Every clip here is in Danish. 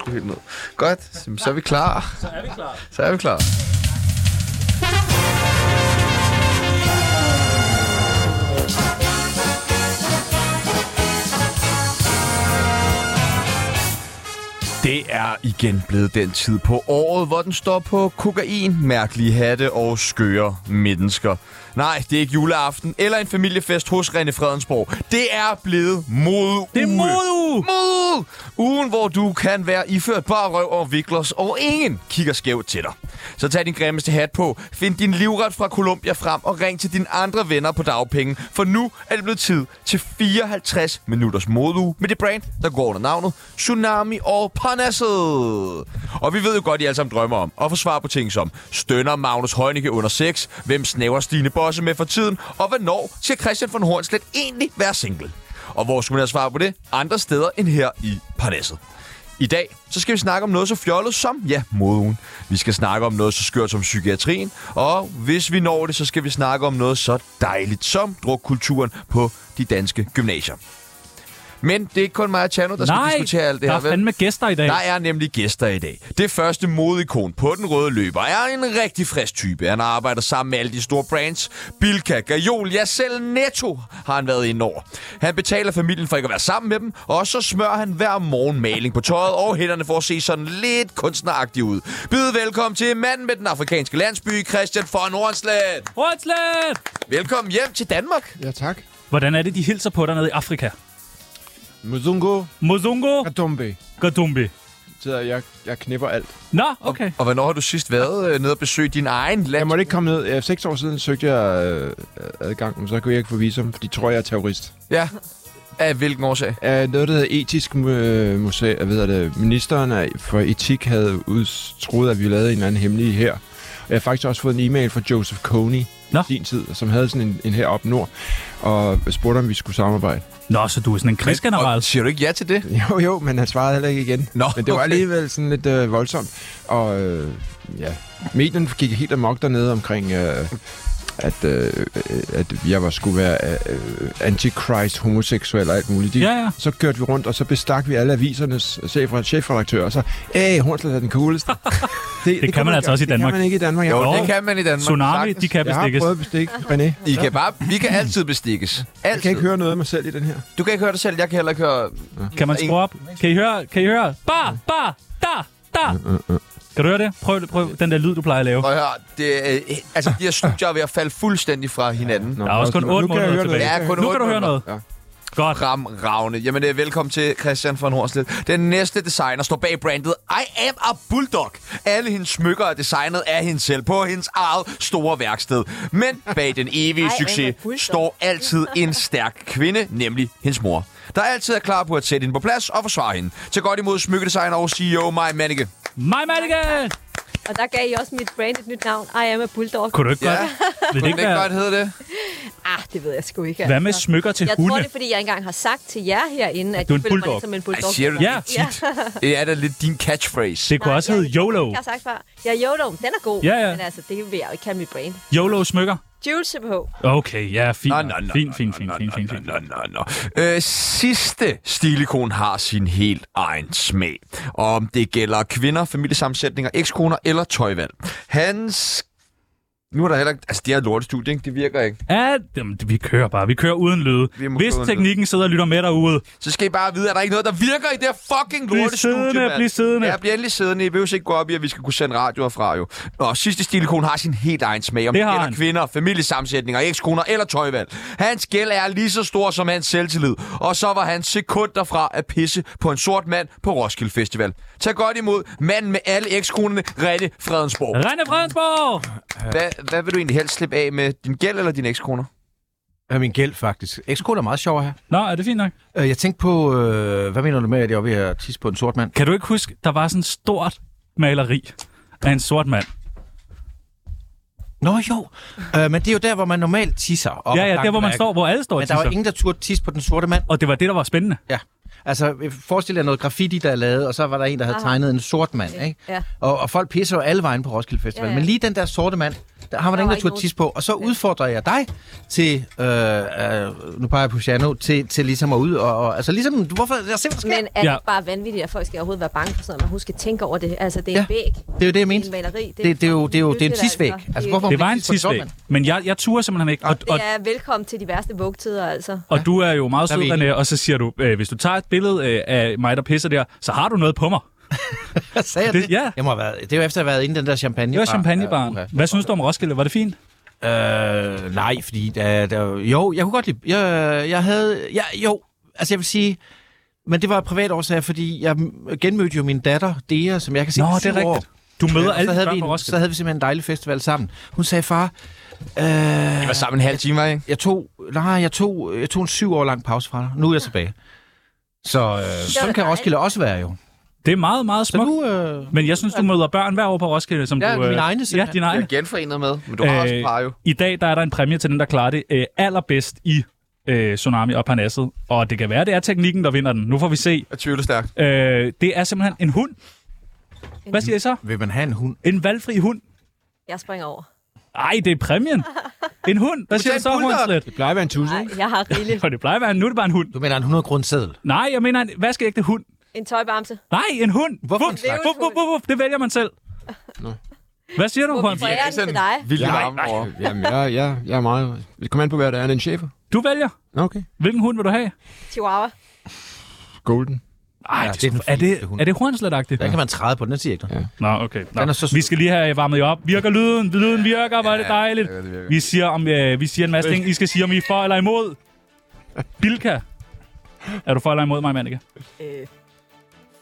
sgu helt ned. Godt, jamen, så er vi klar. Så er vi klar. Så er vi klar. Det er igen blevet den tid på året, hvor den står på kokain, mærkelige hatte og skøre mennesker. Nej, det er ikke juleaften eller en familiefest hos René Fredensborg. Det er blevet mod Det er modeuge! mod! Ugen, hvor du kan være iført bare røv og viklers, og ingen kigger skævt til dig. Så tag din grimmeste hat på, find din livret fra Columbia frem og ring til dine andre venner på dagpenge, for nu er det blevet tid til 54 minutters modeuge med det brand, der går under navnet Tsunami og Parnasset. Og vi ved jo godt, I alle sammen drømmer om at få svar på ting som Stønner Magnus Heunicke under 6, Hvem snæver Stine Bosse med for tiden, og hvornår skal Christian von Hornslet egentlig være single? Og hvor skulle man have svar på det? Andre steder end her i Parnasset. I dag, så skal vi snakke om noget så fjollet som, ja, moden. Vi skal snakke om noget så skørt som psykiatrien, og hvis vi når det, så skal vi snakke om noget så dejligt som drukkulturen på de danske gymnasier. Men det er ikke kun mig og Tjano, der Nej, skal diskutere alt det der her, er fandme gæster i dag. der er nemlig gæster i dag. Det første modikon på den røde løber er en rigtig frisk type. Han arbejder sammen med alle de store brands. Bilka, Gajol, ja selv Netto har han været inde over. Han betaler familien for ikke at være sammen med dem, og så smører han hver morgen maling på tøjet og hænderne for at se sådan lidt kunstneragtig ud. Byd velkommen til manden med den afrikanske landsby, Christian von Nordsland. Rødslet! Velkommen hjem til Danmark. Ja, tak. Hvordan er det, de hilser på dig nede i Afrika? Muzungo Mozungo Kadombe. Gadumbi. Så jeg, jeg knipper alt. Nå, okay. Og hvornår har du sidst været øh, nede og besøgt din egen Jeg land? måtte ikke komme ned. Ja, seks år siden søgte jeg øh, adgang, men så kunne jeg ikke få visum, for de tror, jeg er terrorist. Ja. Af hvilken årsag? Af noget, der hedder etisk mu- museum, hvad hedder det, øh, ministeren af- for etik havde udstroet, at vi lavede en eller anden hemmelig her. Og jeg har faktisk også fået en e-mail fra Joseph Kony Nå. i sin tid, som havde sådan en, en her op nord, og spurgte, om vi skulle samarbejde. Nå, så du er sådan en krigsgeneral. Og Siger du ikke ja til det? Jo, jo, men han svarede heller ikke igen. Nå, men det var okay. alligevel sådan lidt øh, voldsomt. Og øh, ja, medierne gik helt amok dernede omkring, øh, at, øh, øh, at jeg var skulle være øh, antichrist, homoseksuel og alt muligt. De, Ja, ja. Så kørte vi rundt, og så bestak vi alle avisernes chef- chefredaktører, og så, æh, Hornslet er den cooleste. det, det, kan man altså også i Danmark. Det kan man ikke i Danmark. Jeg, Jo, har- det kan man i Danmark. Tsunami, sagtens. de kan jeg har bestikkes. prøvet at bestikke René. I kan bare, vi kan altid bestikkes. Altid. Jeg kan ikke høre noget af mig selv i den her. Du kan ikke høre dig selv, jeg kan heller ikke høre... Kan man skrue op? Kan I høre? Kan I høre? Ba, ba, da, da. Mm, Kan du høre det? Prøv, det- prøv den der lyd, du plejer at lave. Prøv at høre, det, øh, altså, de her studier er ved at falde fuldstændig fra hinanden. Nå, Der er også kun nu- 8 nu kan jeg måneder høre noget. tilbage. Ja, kun Nu otte kan du høre noget. Ja. Godt. Ram Ravne. Jamen, øh, velkommen til Christian von Horslet. Den næste designer står bag brandet I am a bulldog. Alle hendes smykker er designet af hende selv på hendes eget store værksted. Men bag den evige I am a succes bulldog. står altid en stærk kvinde, nemlig hendes mor. Der altid er klar på at sætte hende på plads og forsvare hende. Til godt imod smykkedesigner og E CEO Maja Manneke. My Madigan! Og der gav I også mit brand et nyt navn. I am a bulldog. Kunne du ikke Ja. godt? Vil det Kunne det ikke ikke være... godt hedde det? Ah, det ved jeg sgu ikke. altså. Hvad med smykker til Jeg hunde? tror, det er, fordi jeg engang har sagt til jer herinde, at Du er en jeg føler mig bulldog. lidt som en bulldog. Ej, siger du det? Ja, tit. Det er da lidt din catchphrase. Det kunne også hedde YOLO. Jeg har sagt før. Ja, YOLO, den er god. Ja, ja. Men altså, det vil jeg jo ikke kalde mit brand. YOLO-smykker. Jules CPH. Okay, ja, fint. Nå, nok. nå, nå, Fint, nå, fint, nå, fint, nå, fint, fint, nå, fint. nå, nå, nå. Øh, sidste stilikon har sin helt egen smag. Om det gælder kvinder, familiesammensætninger, ekskoner eller tøjvalg. Hans... Nu er der heller ikke... Altså, det er et lortestudie, ikke? Det virker ikke. Ja, jamen, det- vi kører bare. Vi kører uden lyde. Vi må Hvis køre uden teknikken sidder og lytter med derude, Så skal I bare vide, at der ikke er noget, der virker i det her fucking Bliv lortestudie, siddende, mand. bliv siddende. Ja, bliv endelig siddende. I behøver ikke gå op i, at vi skal kunne sende radioer fra, jo. Nå, sidste stilikon har sin helt egen smag. Om Det det har gælder han. kvinder, familiesammensætninger, ekskoner eller tøjvalg. Hans gæld er lige så stor som hans selvtillid. Og så var han sekunder fra at pisse på en sort mand på Roskilde Festival. Tag godt imod manden med alle ekskonerne, Rette Fredensborg. René Fredensborg! Hvad, hvad vil du egentlig helst slippe af med? Din gæld eller din ekskoner? Ja, min gæld faktisk. Ekskol er meget sjov her. Nå, er det fint nok? Øh, Jeg tænkte på, øh, hvad mener du med, at jeg var ved at tisse på en sort mand? Kan du ikke huske, der var sådan et stort maleri af en sort mand? Nå jo, øh, men det er jo der, hvor man normalt tisser. op Ja, ad ja, der hvor man plankeværket. står, hvor alle står og Men der var tisser. ingen, der turde tisse på den sorte mand. Og det var det, der var spændende. Ja. Altså, forestil jer noget graffiti, der er lavet, og så var der en, der havde Aha. tegnet en sort mand, ikke? Ja. Og, og folk pisser jo alle vejen på Roskilde Festival. Ja, Ja, ja. ja. Men lige den der sorte mand, der har man Der ingen var natur ikke tisse på. Og så udfordrer jeg dig til, øh, øh, nu peger jeg på Shano, til, til ligesom at ud og, og altså ligesom, hvorfor, jeg simpelthen Men skal. er det Ja. ja. bare vanvittigt, at folk skal overhovedet være bange for sådan noget? Man husker at tænke over det. Altså, det er en Ja. væg. Det er jo det, jeg mente. en maleri. Det, det, er jo, det er jo det er en tidsvæg. Altså, hvorfor Det må var man en ikke tisse på tidsvæg, en sort mand? men jeg, jeg turer simpelthen ikke. Og, og, Det er velkommen til de værste vugtider, altså. og du er jo meget Der er sød, René, vi og så siger du, øh, hvis du tager et billede øh, af mig, der pisser der, så har du noget på mig. Hvad sagde jeg det? Det- ja. Jeg må have været, det er jo efter at have været inde i den der champagne. Det var champagnebaren. Hvad synes du om Roskilde? Var det fint? Øh, nej, fordi der, der, jo, jeg kunne godt lide, jeg, jeg havde, jeg, jo, altså jeg vil sige, men det var privat årsager, fordi jeg genmødte jo min datter, Dea, som jeg kan se Nå, i det er syv år. rigtigt. Du møder Og så alle havde, vi børn på en, så Roskilde. havde vi simpelthen en dejlig festival sammen. Hun sagde, far, øh, Vi var sammen en halv time, ikke? jeg, tog, nej, jeg, tog, jeg tog en syv år lang pause fra dig. Nu er jeg tilbage. Så øh, sådan kan dejligt. Roskilde også være jo. Det er meget, meget Så smukt. nu, øh, Men jeg synes, du møder børn hver år på Roskilde. Som Ja, du, øh, mine egne Ja, simpelthen. dine Jeg egne. er genforenet med, men du har også Øh, et par jo. I dag der er der en præmie til den, der klarer det øh, allerbedst i øh, Tsunami og Parnasset. Og det kan være, det er teknikken, der vinder den. Nu får vi se. Jeg tvivler stærkt. Øh, det er simpelthen en hund. Hvad siger I så? vil man have en hund? En valgfri hund. Jeg springer over. Ej, det er præmien. En hund. Hvad siger tage du så, en bulldog. Hornslet? Det plejer at være en tusse, Nej, ikke? jeg har rigeligt. For det plejer at være, en- nu er det bare en hund. Du mener en 100 grundseddel? Nej, jeg mener en vaskeægte hund. En tøjbamse. Nej, en hund. Hvorfor Vup, en slags? vup, vup, vup, vup. Det vælger man selv. Hvad siger du, Hvorfor Hornslet? er den til dig? vildt Nej, varme over. Jamen, jeg, jeg, jeg er meget... Det kommer an på, hvad der er. Er det en chefer? Du vælger. Nå, Okay. Hvilken hund vil du have? Chihuahua. Golden. Ej, Ja, det det er den er, det, fineste hund. er det hornslet-agtigt? Der kan man træde på den, den siger ikke noget. Nå, okay. Nå. Den er så sød. vi skal lige have varmet jer op. Virker lyden? Lyden virker, hvor er det dejligt. det virker. Vi siger, om, øh, vi siger en masse ting. I skal sige, om I er for eller imod. Bilka. Er du for eller imod mig, Manneke? Øh,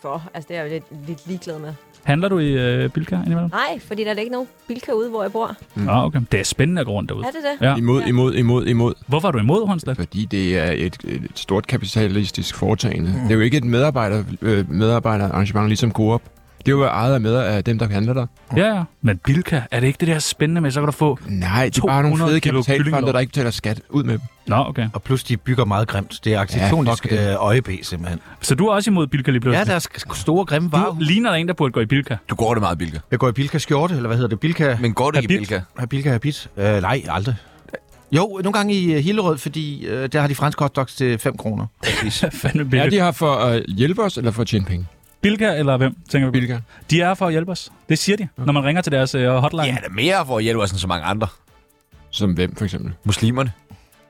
for. Altså, det er jeg jo lidt, lidt ligeglad med. Handler du i øh, Bilka indimellem? Nej, fordi der er da ikke nogen bilka ude, hvor jeg bor. Mm. Nå, okay. Det er spændende at gå rundt derude. Er det det? Ja. Imod, imod, imod, imod. Hvorfor er du imod håndslag? Fordi det er et, et stort kapitalistisk foretagende. Mm. Det er jo ikke et medarbejder, øh, medarbejderarrangement ligesom Coop. Det er jo ejet af, med, af dem, der handler der. Ja, ja. Men Bilka, er det ikke det der spændende med, så kan du få... Nej, det er bare nogle 200 fede kilo kapitalfonder, kyllingelår. der ikke betaler skat. Ud med dem. Nå, okay. Og plus, de bygger meget grimt. Det er arkitektonisk fuck ja, det. øh, øjeb, simpelthen. Så du er også imod Bilka lige Ja, pludselig? der er sk- store, grimme Du varer. ligner der en, der burde gå i Bilka. Du går det meget, Bilka. Jeg går i Bilka skjorte, eller hvad hedder det? Bilka... Men går du ikke i Habit. Bilka? Har Bilka habit? Øh, nej, aldrig. Jo, nogle gange i øh, Hillerød, fordi øh, der har de franske hotdogs til 5 kroner. Hvad fanden er Er Bilka? de her for at hjælpe os, eller for at tjene penge? Bilka eller hvem, tænker vi? på? Bilka. De er her for at hjælpe os. Det siger de, når man ringer til deres øh, hotline. Ja, der er mere for at hjælpe os end så mange andre. Som hvem, for eksempel? Muslimerne.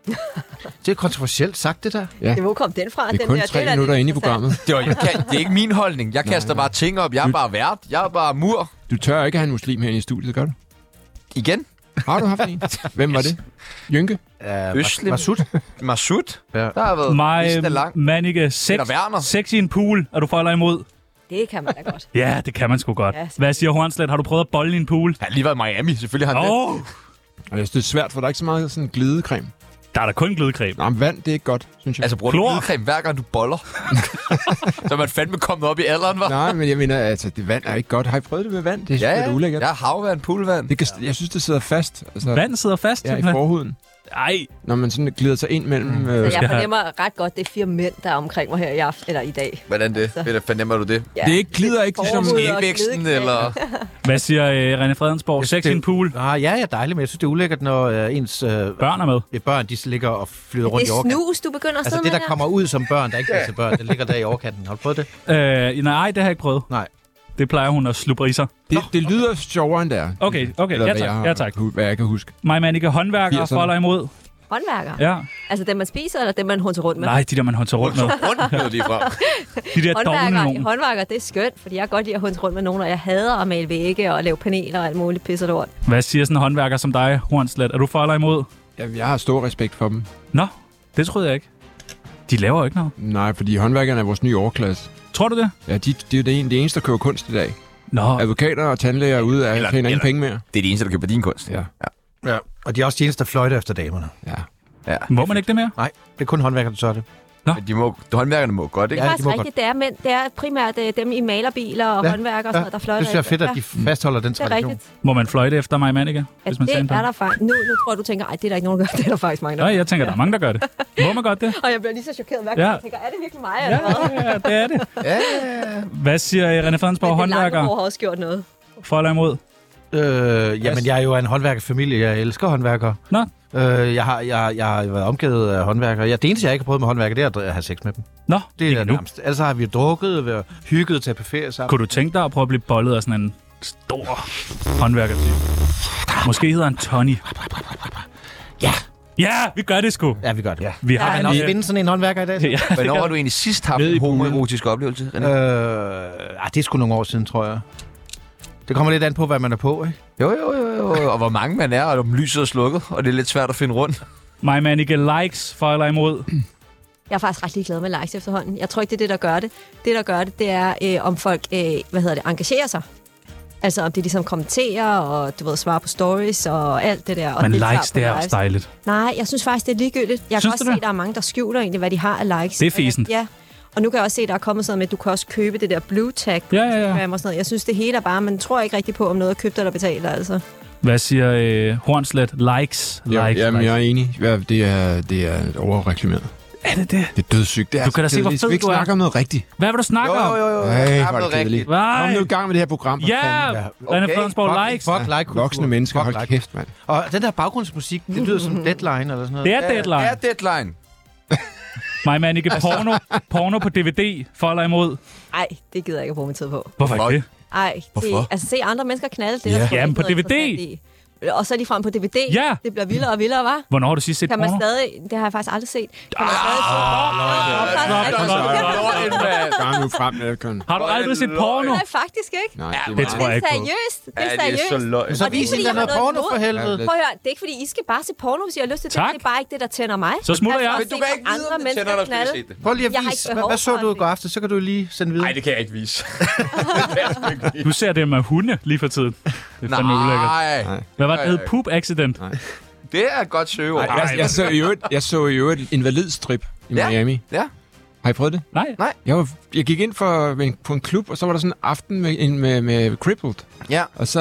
Det er kontroversielt sagt, det der. Ja. Det, hvor kom den fra? Det er den kun der, tre den er minutter lidt inde i interessant. programmet. Det, var, jeg kan, det er ikke min holdning. Jeg kaster bare ting op. Jeg er bare vært. Jeg er bare mur. Du tør ikke have en muslim herinde i studiet, gør du? Igen. Har du haft en? Hvem var det? Jynke? Øh, Øslem. Masud. Masud. Ja. Der har været listen er lang. Mig, Mannike, sex, Peter Werner. sex i en pool. Er du for eller imod? Det kan man da godt. Ja, det kan man sgu godt. Ja, Hvad siger Hornslet? Har du prøvet at bolle i en pool? Han har lige været i Miami. Selvfølgelig har han det. Åh, oh, Og jeg synes, det er svært, for der er ikke så meget sådan glidecreme. der er da kun glidecreme. Nej, men vand, det er ikke godt, synes jeg. Altså, bruger du Klor. glidecreme hver gang, du boller? så er man fandme kommet op i alderen, var. Nej, men jeg mener, altså, det vand er ikke godt. Har I prøvet det med vand? Det er ja, lidt ulækkert. Jeg Ja. er havvand, poolvand. Det kan, jeg synes, det sidder fast. Altså, Vand sidder fast. Ja, i simpelthen. forhuden. Ej, Når man sådan glider sig ind mellem... Mm. Øh, Så jeg Ja. fornemmer ret godt, det er fire mænd, der er omkring mig her i aften, eller i dag. Hvordan det? Hvordan fornemmer du det? Ja. det er ikke, glider ikke Forhud ligesom... og Elvæksten, glidecreme. eller... hvad siger øh, René Fredensborg? Sex Jeg synes, i det- en pool. Ah, ja, ja, dejligt, men jeg synes, det er ulækkert, når øh, ens øh, Børn er med. øh, børn de ligger og flyder Det rundt i er overkanten. snus, du begynder at Altså sidde det, med der kommer ud som børn, der ikke er til børn, det ligger der i overkanten. Har du prøvet det? Øh, nej, det har jeg ikke prøvet. Nej. Det plejer hun at slubre i sig. Det, det lyder sjovere, end det er. Okay, okay. Eller Ja hvad jeg tak. har- Ja, tak. hu- Hvad jeg kan huske. Mig, Mannike, håndværker, 80'erne. for eller imod? Håndværker. Ja. Altså dem, man spiser, eller dem, man hunter rundt med? Nej, de der, man håndter rundt med. Rundt med de fra. De der dogne Håndværker, nogen. håndværker, det er skønt, fordi jeg kan godt lide at hunde rundt med nogen, og jeg hader at male vægge og lave paneler og alt muligt pisse lort. Hvad siger sådan en håndværker som dig, Hornslet? Er du for eller imod? Jamen, jeg har stor respekt for dem. Nå, det troede jeg ikke. De laver jo ikke noget. Nej, fordi håndværkerne er vores nye overklasse. Tror du det? Ja, de, det er jo det en- det eneste, der køber kunst i dag. Nå, Advokater og tandlæger er ude af Eller- tjener ingen eller- penge mere. Det er det eneste, der køber din kunst. Ja. Ja. Og de er også de eneste, der fløjter efter damerne. ja. må man ikke det mere? Nej, det er kun håndværkerne, der tør det. Nå. Men de må, håndværkerne må godt, Det ikke? er ja, Ja, de faktisk må rigtigt, det er mænd. Det er primært øh, dem i malerbiler og ja, håndværkere og sådan noget, der fløjter. Det synes jeg er efter. fedt, at Ja, de fastholder den det er tradition. rigtigt. Må man fløjte efter mig, Mannika? At Hvis man det tager en er pause? der faktisk. Nu, nu tror jeg, du tænker, ej, det er der ikke nogen, der gør. Det er der faktisk mange, der Nej, jeg tænker, der er mange, der gør det. Må man godt det? Og jeg bliver lige så chokeret hver Ja. gang, jeg tænker, er det virkelig mig? Ja, Eller hvad? ja, det er det. Ja, ja, ja. Hvad siger I, René Fredensborg, Men det lange hår håndværker? har også gjort noget. For eller imod? Øh, jamen, jeg er jo af en håndværkerfamilie. Jeg elsker håndværkere. Nå. Øh, jeg, har, jeg, jeg har været omgivet af håndværkere. Jeg, det eneste, jeg ikke har prøvet med håndværkere, det er at dr- at have sex med dem. Nå, Det ikke er nu. nærmest. Altså har vi drukket, vi har hygget til på ferie sammen. Kunne du tænke dig at prøve at blive bollet af sådan en stor håndværker? Måske hedder han Tony. Ja. Ja, vi gør det sgu. Ja, vi gør det. Ja. Vi har Kan man en... også vinde sådan en håndværker i dag? så? Ja, Hvornår har du egentlig sidst haft Ned i en poolen. homoerotisk oplevelse, René? Øh, ah, det er sgu nogle år siden, tror jeg. Det kommer lidt an på, hvad man er på, ikke? Jo, jo, jo, jo. Og hvor mange man er, og om lyset er slukket, og det er lidt svært at finde rundt. My Manike likes for eller imod. Jeg er faktisk ret ligeglad med likes efterhånden. Jeg tror ikke, det er det, der gør det. Det, der gør det, det er, øh, om folk øh, hvad hedder det, engagerer sig. Altså, om de ligesom kommenterer, og du ved, svarer på stories og alt det der. Og Men deltager likes, på det er også lives. dejligt. Nej, jeg synes faktisk, det er ligegyldigt. Jeg Synes kan også du se, det? at der er mange, der skjuler egentlig, hvad de har af likes. Det er fesen. Ja. Og nu kan jeg også se, at der er kommet sådan med, at du kan også købe det der blue tag på Ja, ja, ja. Instagram og sådan noget. Jeg synes, det hele er bare, man tror ikke rigtig på, om noget er købt eller betalt, altså. Hvad siger øh, Hornslet? Likes, likes, Ja, likes. jamen, jeg er enig. Ja, det er, det er overreklameret. Er det det? Det er dødssygt. Det er Du kan da se, hvor kedeligt. Skal fed vi ikke du er. snakke om noget rigtigt? Hvad vil du snakke om? jo. Ej, hvor er det kedeligt. Kom nu Nej. i gang med det her program. for Ja, fanden. René Okay, Fredensborg fuck, likes. Fuck like kultur. Voksne mennesker, Fuck hold like. kæft, mand. Og den der baggrundsmusik, det lyder som deadline eller sådan noget. Det er deadline. Er deadline. My Manike porno, porno på DVD, for eller imod. Ej, det gider jeg ikke at bruge min tid på. Hvorfor ikke Fuck. det? Ej, det, Hvorfor? altså se andre mennesker knalde, det er der sgu Jamen, på ikke noget DVD. interessant i. Og så lige frem på DVD. Ja. Det bliver vildere og vildere, var. Hvornår har du sidst set Kan man porno? stadig... Det har jeg faktisk aldrig set. Kan man stadig... Stop, Ah, stop, stop, stop. Kom nu frem, Nelkøn. Har du aldrig set porno? Nej, faktisk ikke. Nej, det, det er tror meget- Det jeg er ikke på. seriøst. Det Ja, er det er så seriøst. løgn. Så Og det er vis fordi, hende, der jeg har er noget noget porno for imod. helvede. Prøv at høre, det er ikke fordi, I skal bare se porno, hvis I har lyst til Tak. det. Det er bare ikke det, der tænder mig. Altså, Så smutter jeg. Men du kan ikke vide, om det tænder dig, fordi det. det. Prøv lige at Jeg har vise. ikke Hvad, behov hvad så for du i det. går aftes? Så kan du lige sende videre. Nej, det kan jeg ikke vise. Du ser det med hunde lige for tiden. Det er fandme ulækkert. Nej, Nej. Hvad var det, der hed? Nej. Poop accident. det er et godt søgeord. Nej, jeg, jeg, så i øvrigt, jeg så i øvrigt en validstrip i Ja. Miami. Ja. Har I prøvet det? Nej. Jeg, var, jeg gik ind for, med en, på en klub, og så var der sådan en aften med, en, med, med Crippled. Ja. Og så...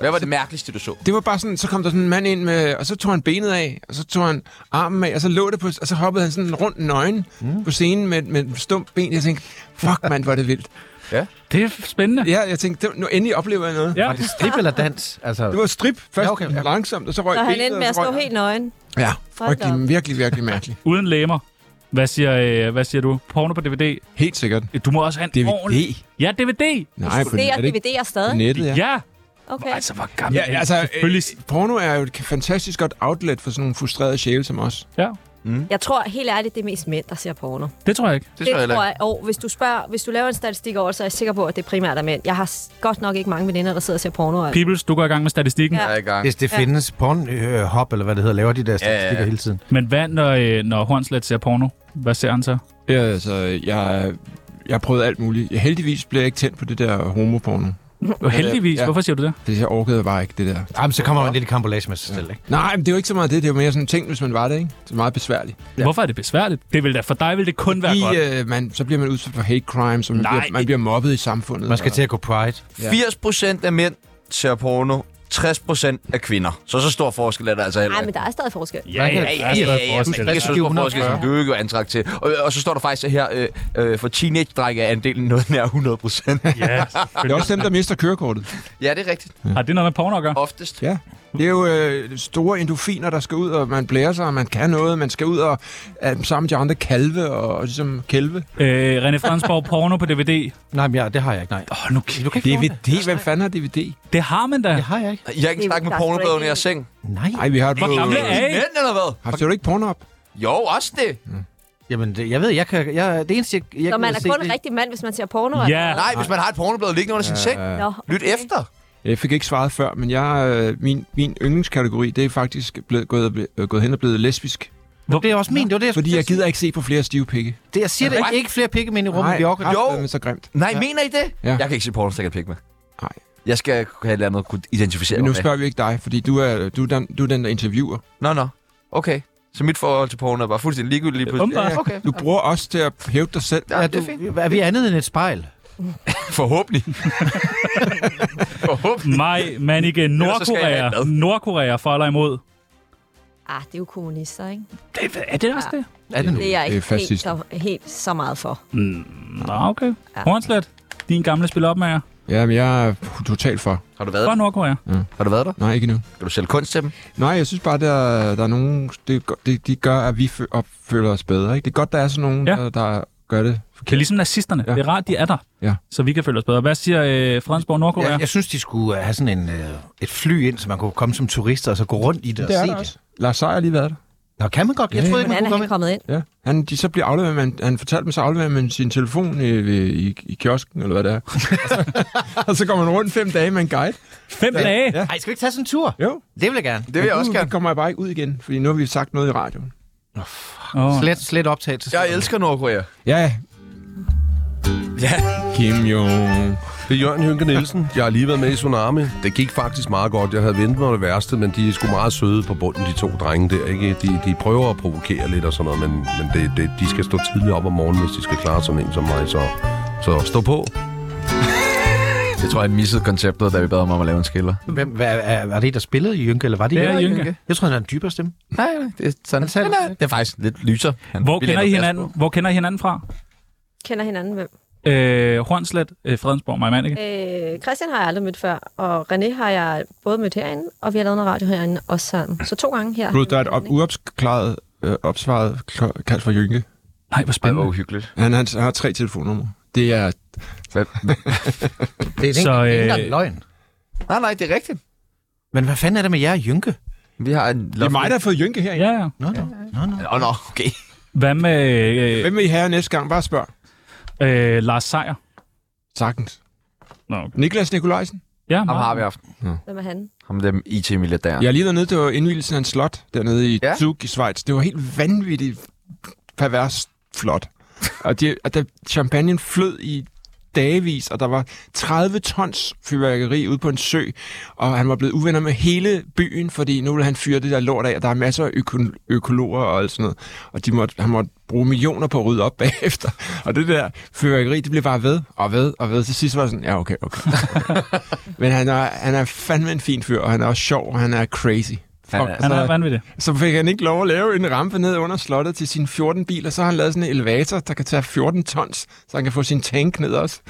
Hvad var det mærkeligste, du så? Det var bare sådan, så kom der sådan en mand ind med, og så tog han benet af, og så tog han armen af, og så lå det på, og så hoppede han sådan rundt nøgen mm. på scenen med, med et stumt ben. Jeg tænkte, fuck mand, hvor er det vildt. Det er spændende. Ja, jeg tænkte, det, nu endelig oplever jeg noget. Ja. Var det strip eller dans? Altså, Det var strip, først Ja, ja, okay. okay. langsomt, og så røg Og han benet, endte med at så røg stå armen. helt nøgen. Ja, Hold da frygtelig, op. virkelig, virkelig mærkeligt. Uden læmer. Hvad siger, øh, hvad siger du? Porno på DVD? Helt sikkert. Du må også have en ordentlig... DVD. Ja, DVD. Nej, på, Det er er det ikke DVD'er på stadig. nettet, Ja. ja. ja. Okay. Altså, hvor gammel Ja, er I? altså, Selvfølgelig. øh, porno er jo et fantastisk godt outlet for sådan nogle frustrerede sjæle som os. Ja, Jeg tror helt ærligt, det er mest mænd, der ser porno. det tror jeg ikke. Det Det tror jeg tror heller jeg, og hvis du spørger, hvis du laver en statistik over, det, så er jeg sikker på, at det primært er mænd. Jeg har s- godt nok ikke mange veninder, der sidder og ser porno. Altså. Peoples, du går i gang med statistikken. Ja. Ja. ikke. Jeg er i gang. Hvis det findes porn, øh, hop, eller hvad det hedder, laver de der statistikker ja. hele tiden. Men hvad, når, øh, når Hornslet ser porno? Hvad ser han så? Ja, altså, jeg, jeg har prøvet alt muligt. Heldigvis blev jeg ikke tændt på det der homoporno. Og heldigvis. Ja. Hvorfor siger du det? Det jeg orkede bare ikke, det der. Jamen, så kommer man lidt i kambolage med sig selv, ikke? Nej, men det er jo ikke så meget det. Det er jo mere sådan en ting, hvis man var det, ikke? Det er meget besværligt. Ja. Hvorfor er det besværligt? Det vil da, for dig vil det kun være godt. I, øh, man, så bliver man udsat for hate crimes, og man, Nej. bliver, man bliver mobbet i samfundet. Man skal og- til at gå pride. Ja. 80 procent af mænd ser porno. 60 procent af kvinder. Så så stor forskel er der altså heller Nej, ikke. men der er stadig forskel. Ja, ja, Ja, ja, ja, ja, men ikke så stor 700. forskel, som du ikke er antragt til. Og, og så står der faktisk her, øh, øh, for teenage-drenge er andelen noget nær 100 procent. ja, Det er selvfølgelig. også dem, der mister kørekortet. ja, det er rigtigt. Har det noget med porno at gøre? Oftest. Ja. Det er jo øh, store endofiner, der skal ud, og man blærer sig, og man kan noget. Man skal ud og øh, sammen med de andre kalve og, og ligesom kælve. Øh, René Fransborg, porno på DVD. Nej, men ja, det har jeg ikke, nej. Åh, oh, nu kan du kan ikke det. DVD? Hvem fanden har DVD? det har man da. Det har jeg ikke. Jeg har ikke Det er snakket med Lars pornobladet Breaking. i jeres seng. Nej. Nej, vi har det Hvor på... gamle er I? Mænd eller hvad? Har du ikke Pornhub? Jo, også det. Jamen, det, jeg ved, jeg kan... Jeg, det eneste, jeg, jeg Når kan man er se, kun det- en rigtig mand, hvis man ser porno. Ja. eller hvad? Nej, hvis man har et pornoblad liggende under sin seng. Nå, Lyt okay. efter. Jeg fik ikke svaret før, men jeg, øh, min, min yndlingskategori, det er faktisk blevet, gået, øh, gået hen og blevet lesbisk. Det er også min, det var det, jeg Fordi skulle jeg til at gider ikke se på flere stive pikke. sige. Det, jeg siger det What? ikke, ikke flere pikke, men i rummet, vi orker. Jo. men så grimt. Nej, mener I det? Ja. Jeg kan ikke se porno, så jeg kan pik med. Nej. Jeg skal have et eller andet at kunne identificere Men mig nu med. spørger vi ikke dig, fordi du er, du er, den, du er den, der interviewer. Nå, nå. Okay. Så mit forhold til porno er bare fuldstændig ligegyldigt lige pludselig. Åbenbart. okay. Du bruger os til at hævde dig selv. Ja, er, det er fint. du, er vi andet end et spejl? Forhåbentlig. Forhåbentlig. Maj, Manike, så skal jeg have et bad. Nordkorea. Nordkorea for eller imod. Ah, det er jo kommunister, ikke? Det, er det også det? Er det nu? Det er Det jeg er ikke helt, fascist. så, helt så meget for. Nå, okay. Ja. Hornslet, din gamle spilopmager Jamen, jeg er totalt for. Har du været fra der? Nordkorea. Har du været der? Nej, ikke nu. Kan du sælge kunst til dem? Nej, jeg synes bare, der, der er nogen... Det, gør- det, de gør, at vi fø- opføler os bedre. Ikke? Det er godt, der er sådan nogen, Ja. ja. der, der gør det. Det er ligesom nazisterne. Ja. Ja. Det er rart, de er der, Ja. så vi kan føle os bedre. Hvad siger øh, Fredensborg Nordkorea? Jeg, Ja, jeg synes, de skulle øh, have sådan en, øh, et fly ind, så man kunne komme som turister og så gå rundt i det, og se det. Lars Seier har lige været der. Nå, kan man godt? Jeg troede ikke, man Hvordan kunne er komme han ind. kommet ind? Ja. Han, de så bliver afleveret, man, han fortalte mig, så afleverer man sin telefon i, i, i kiosken, eller hvad det er. og så går man rundt fem dage med en guide. Fem ja. dage? Ja. Ej, skal vi ikke tage sådan en tur? Jo. Det vil jeg gerne. Det vil jeg også Nu gerne. kommer jeg bare ikke ud igen, fordi nu har vi sagt noget i radioen. Oh. Slet, slet optagelse. Jeg elsker Nordkorea. Ja, Ja. Kim Jong. Det er Jørgen Hynke Nielsen. Jeg har lige været med i Tsunami. Det gik faktisk meget godt. Jeg havde ventet mig det værste, men de er sgu meget søde på bunden, de to drenge der. Ikke? De, de prøver at provokere lidt og sådan noget, men, men det, det, de skal stå tidligt op om morgenen, hvis de skal klare sådan en som mig. Så, så stå på. Jeg tror, han missede konceptet, da vi bad ham om at lave en skiller. Hvem, hvad, er, var det, der spillede i Jynke, eller var det, Det er Jørgen? Jynke. Jeg tror, han har en dybere stemme. Nej, nej, det er sådan. Han sagde Nej, nej, det er faktisk lidt lyser. Han Hvor, vi kender I lægger plads hinanden, hvor kender I hinanden fra? Kender hinanden hvem? Øh, Hornslet, øh, Fredensborg, Maja Manike. Øh, Christian har jeg aldrig mødt før, og René har jeg både mødt herinde, og vi har lavet noget radio herinde også sammen. Så to gange her. Blod, der er et op, uopklaret øh, opsvaret kl- kaldt for Jynke. Nej, hvor på. Ej, hvor spændende. uhyggeligt. Han, han, han har tre telefonnumre. Det er... Det er Så, så, øh, ikke engang løgn. Nej, nej, det er rigtigt. Men hvad fanden er det med jer og Jynke? Vi har en... Det er mig, der har fået Jynke her. Ja. Ja, ja. Nå, nå. Nå, nå. Åh, oh, nå, okay. Hvad med øh, Hvem vil I have næste gang? Bare spørg. øh, Lars Seier? Sagtens. Nå, okay. Niklas Nikolajsen. Ja, Ham har meget. vi haft. Hvem er han? Ham dem IT-milliardæren. Jeg er lige dernede, det var indvielsen af en slot dernede i Ja. ja. Zug i Schweiz. Det var helt vanvittigt pervers flot. og, de, og der champagne flød i dagevis, og der var 30 tons fyrværkeri ude på en sø, og han var blevet uvenner med hele byen, fordi nu ville han fyre det der lort af, og der er masser af øko- økologer og alt sådan noget, og de måtte, han måtte bruge millioner på at rydde op bagefter. Og det der fyrværkeri, det blev bare ved og ved og ved. Til sidst var det sådan, ja, okay, okay. Men han er, han er fandme en fin fyr, og han er også sjov, og han er crazy. Han er- Fuck, Han er så- vanvittig. så fik han ikke lov at lave en rampe ned under slottet til sine 14 biler, så har han lavet sådan en elevator, der kan tage 14 tons, så han kan få sin tank ned også.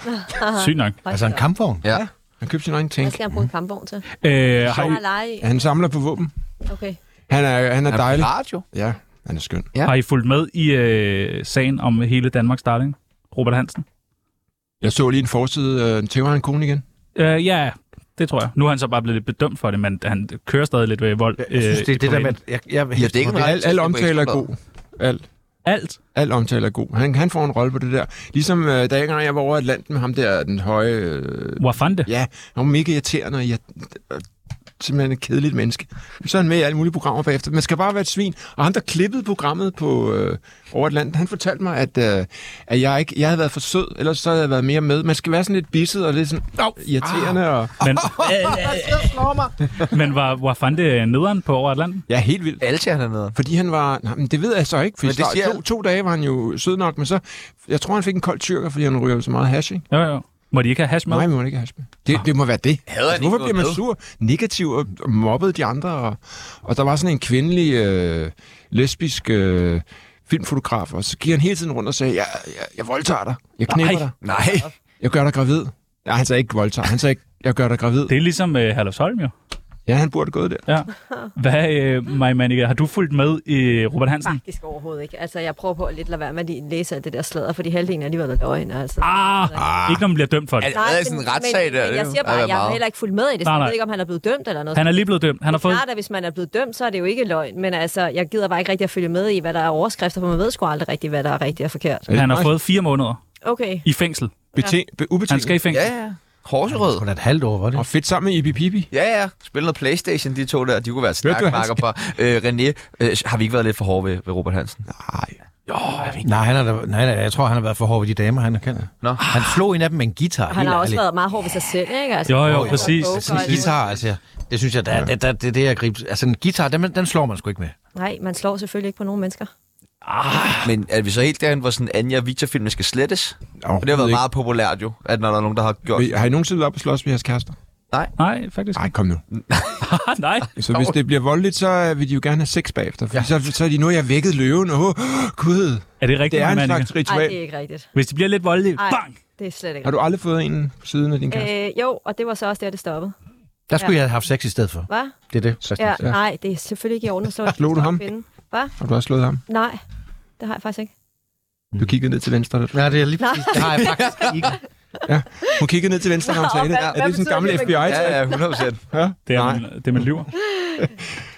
Sygt nok. Altså en kampvogn. Ja. Han købte sin egen Hvad tank. skal han bruge en kampvogn til? Øh, har Har I, han lege i? Han samler på våben. Okay. Han er, han er dejlig. Radio. Ja, han er skøn. har I fulgt med i øh, sagen om hele Danmarks darling? Robert Hansen? Jeg så lige en forside, øh, tæver han kone igen. Øh, ja, det tror jeg. Nu er han så bare blevet lidt bedømt for det, men han kører stadig lidt ved vold. Jeg synes, øh, det er i det der med... privaten. at- Jeg, jeg, Ja, det er ikke en Al, al omtale er god. Al, Alt. al omtale er god. Han, han får en rolle på det der. Ligesom øh, da jeg engang jeg var over Atlanten med ham der, den høje... Øh, Hvor fandt det? ja, han var mega irriterende, og jeg, øh, simpelthen et kedeligt menneske. Så er han med i alle mulige programmer bagefter. Man skal bare være et svin. Og han, der klippede programmet på øh, over Atlanten, han fortalte mig, at, øh, at jeg, ikke, jeg havde været for sød, ellers så havde jeg været mere med. Man skal være sådan lidt bisset og lidt sådan øh, irriterende. Ah. Og, Men, men var, var fandt det nederen på over Atlanten? ja, helt vildt. Altia hernede. Fordi han var... Nej, men det ved jeg så ikke. Men Fordi det det siger- to, to dage var han jo sød nok, men så... Jeg tror, han fik en kold tyrker, fordi han ryger så meget hash, ikke? Jo, jo. Må de ikke have hash med? Nej, man må ikke have hash med. Det, det må være det. Altså, Hader han Hvorfor ikke bliver man noget sur, negativ og og mobbede de andre? Og, og der var sådan en kvindelig øh, lesbisk øh, filmfotograf, og så gik han hele tiden rundt og sagde, jeg, jeg, jeg voldtager dig, jeg knæpper Nej. dig, Nej. jeg gør dig gravid. Nej, han sagde ikke voldtager, han sagde ikke, jeg gør dig gravid. Det er ligesom øh, Herlufsholm jo. Ja, han burde gået der. Ja. Hvad, øh, Maja Manica, har du fulgt med i Robert Hansen? Faktisk overhovedet ikke. Altså, jeg prøver på at lidt lade være med at lige læse af det der sladder, fordi halvdelen er alligevel er løgn, altså. Ah, Ah. ikke når man bliver dømt for det. Nej, det er sådan en retssag men, der. Men det jeg siger er bare, at jeg har meget. heller ikke fulgt med i det, så Nej, jeg nej. ved ikke, om han er blevet dømt eller noget. Han er lige blevet dømt. Han har fået... Klart, at hvis man er blevet dømt, så er det jo ikke løgn, men altså, jeg gider bare ikke rigtig at følge med i, hvad der er overskrifter, for man ved sgu aldrig rigtigt, hvad der er rigtigt og forkert. Han har fået fire måneder Okay. i fængsel. Bete- be- ubetinget. Han skal i fængsel. Ja, ja. Horserød. Kun et halvt år, var det? Og fedt sammen med Ibi Pibi. Ja, ja. Spil noget Playstation, de to der. De kunne være Hørte du, stærke han marker på. Øh, René, øh, har vi ikke været lidt for hårde ved, ved Robert Hansen? Nej. Nej, han er der, nej, nej, jeg tror, han har været for hård ved de damer, han har kendt. Nå. Han slog en af dem med en guitar. Han helt har også ærligt. været meget hård ved sig selv, ikke? Altså, Jo, jo, poker og præcis. poker Altså, en og alt muligt. guitar, altså, det synes jeg, der, der, der, det er det, jeg griber. Altså, en guitar, den, den slår man sgu ikke med. Nej, man slår selvfølgelig ikke på nogen mennesker. Men er vi så helt derhen, hvor sådan Anja og Victor-filmene skal slettes? For det har været meget populært jo, at når der er nogen, der har gjort... meget... Har I nogensinde været op og slås med jeres kærester? Nej, faktisk. Nej, kom nu. Nej. Så hvis det bliver voldeligt, så øh, vil de jo gerne have sex bagefter. For så, så er de, nu har jeg vækket løven. Åh, oh, gud. Er det rigtigt, Det er en Manninger? slags Nej, det er ritual. ikke rigtigt. Hvis det bliver lidt voldeligt, Ej. bang! Det er slet ikke Har du aldrig fået en på siden af din kæreste? rigtigt. Øh, jo, og det var så også der, det stoppede. Der skulle ja. jeg have haft sex i stedet for. Hvad? Det er det. Ja, Ja. nej, det er selvfølgelig ikke i orden at slå en Slog du ham? kvinde. Hvad? Har du også slået ham? Nej, det har jeg faktisk ikke. Du kiggede ned til venstre. da du- Ja, det er lige præcis. Det har jeg faktisk ikke. Hun kiggede ned til venstre, når hun Nå, sagde det. hvad- Er hvad det sådan en gammel betyder det, FBI? Ja, ja, 100 procent. Det er, man, det er man lyver.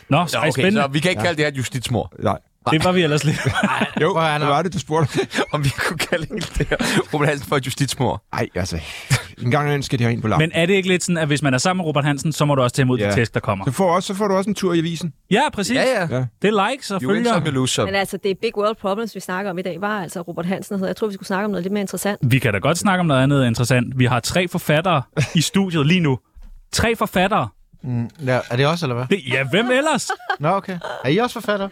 Nå, Så, så, ej, okay, spændende. så vi kan ikke kalde det her et justitsmor. Nej. Det var vi ellers lidt. Jo, Prøv at høre, hvad Anna. var det, du spurgte? Om vi kunne kalde hele det her Robert Hansen for et justitsmor. Nej, altså. En gang imellem skal de have en på lappen. Men er det ikke lidt sådan, at hvis man er sammen med Robert Hansen, så må du også tage imod ja. Ja. de tæsk, der kommer? Så får, også, så får du også en tur i avisen. Ja, præcis. Ja, ja. Det er likes og You win følger. some, you lose some. Men altså, det er big world problems, vi snakker om i dag, var altså Robert Hansen. der hedder. Jeg tror, vi skulle snakke om noget lidt mere interessant. Vi kan da godt snakke om noget andet interessant. Vi har tre forfattere i studiet lige nu. Tre forfattere. Ja, er det også, eller hvad? Det, ja, hvem ellers? Nå, okay. Er I også forfatter?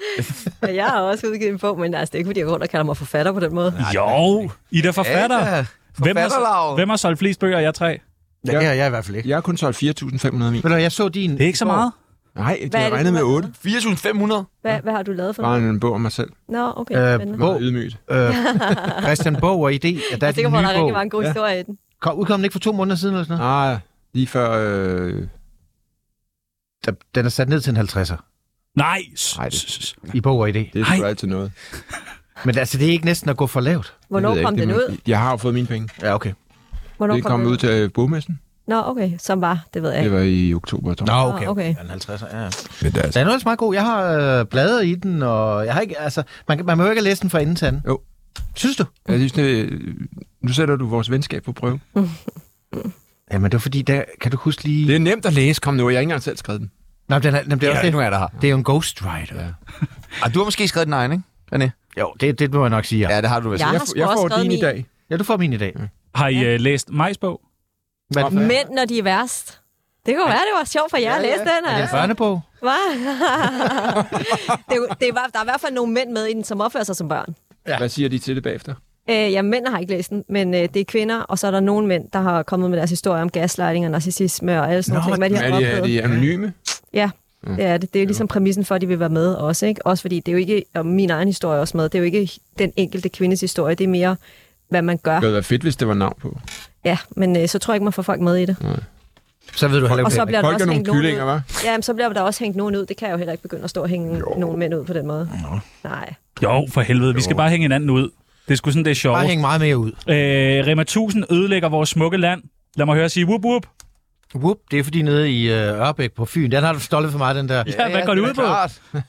Og jeg har også udgivet en bog, men altså, det er ikke, fordi jeg går rundt og kalder mig forfatter på den måde. Jo, I der forfatter. Ja, hvem, har, forfatterlaget. hvem har solgt flest bøger af jer tre? Det Ja, det har jeg i hvert fald ikke. Jeg har kun solgt 4.500 min. Men jeg så din... er ikke så meget. Nej, det Hvad er har det, regnet du med har 8. 4.500? Hvad, hvad har du lavet for Bare noget? en bog om mig selv. Nå, okay. Øh, spændende. hvor- Meget ydmygt. Øh, Christian Bog og idé, at der jeg er er din sikker på, at der nye er rigtig bog. mange gode Ja. historier i den. Kom, udkom den ikke for to måneder siden eller sådan noget? Nej, Ah, lige før... Øh... Der- Den er sat ned til en 50'er Nej. Nej, det, i Bog og idé. det er sgu Ej. altid noget. Det Men altså, det er ikke næsten at gå for lavt. Hvornår ved jeg kom ikke, den det må- ud? Jeg har jo fået mine penge. Ja, okay. Hvornår Det kom ud til øh, bogmessen. Nå, okay. Som var, det ved jeg Det ikke. var i oktober, tror jeg. Nå, okay. okay. Ah, okay. Ja, en 50'er, ja. ja. Men der, Den altså. er nu ellers meget god. Jeg har øh, bladet i den, og jeg har ikke, altså, man, kan- man må jo ikke læse den fra enden til anden. Jo. Synes du? Jeg synes, det, nu sætter du vores venskab på prøve. Jamen, det var fordi, der, kan du huske lige... Det er nemt at læse. Kom nu, jeg har ikke engang selv skrevet den. Nå, den er, den, det, er også, det, nu er der her. det er jo en ghostwriter. Ja. Ah, du har måske skrevet din egen, ikke? René? Jo, det, det må jeg nok sige, ja. Mm. ja. Ja, det har du vist. Jeg Ja. har f- sgu jeg også får skrevet din i min. dag. ja, du får min i dag. Har I uh, læst Majs bog? Hvad er den? Mænd, når de er værst. Det kunne være, det var sjovt for jer at læse den. Er det en børnebog? Hva? det, er jo- det var, der er i hvert fald nogle mænd med i den, som opfører sig som børn. Hvad siger de til det bagefter? Øh, ja, mænd har ikke læst den, men øh, det er kvinder, og så er der nogle mænd, der har kommet med deres historie om gaslighting og narcissisme og alle sådan Nå, nogle ting, hvad de Er har de, er oplevet. de anonyme? Ja, Mm. det er det. Det er ligesom præmissen for, at de vil være med også. Ikke? Også fordi det er jo ikke, og min egen historie er også med, det er jo ikke den enkelte kvindes historie, det er mere, hvad man gør. Det havde været fedt, hvis det var navn på. Ja, men øh, så tror jeg ikke, man får folk med i det. Så ved du heller Og så ikke. bliver der Folk også er nogle hængt nogen kyllinger, ud. hva'? Ja, men så bliver der også hængt nogen ud. Det kan jeg jo heller ikke begynde at stå og hænge jo. nogen mænd ud på den måde. Nej. Jo, for helvede. Vi skal bare hænge hinanden ud. Det er sgu sådan, det er sjovt. Bare hænge meget mere ud. Øh, Rema 1000 ødelægger vores smukke land. Lad mig høre sige whoop whoop. Whoop, det er fordi nede i øh, Ørbæk på Fyn, den har du stoltet for mig, den der. Ja, hvad går det ud på?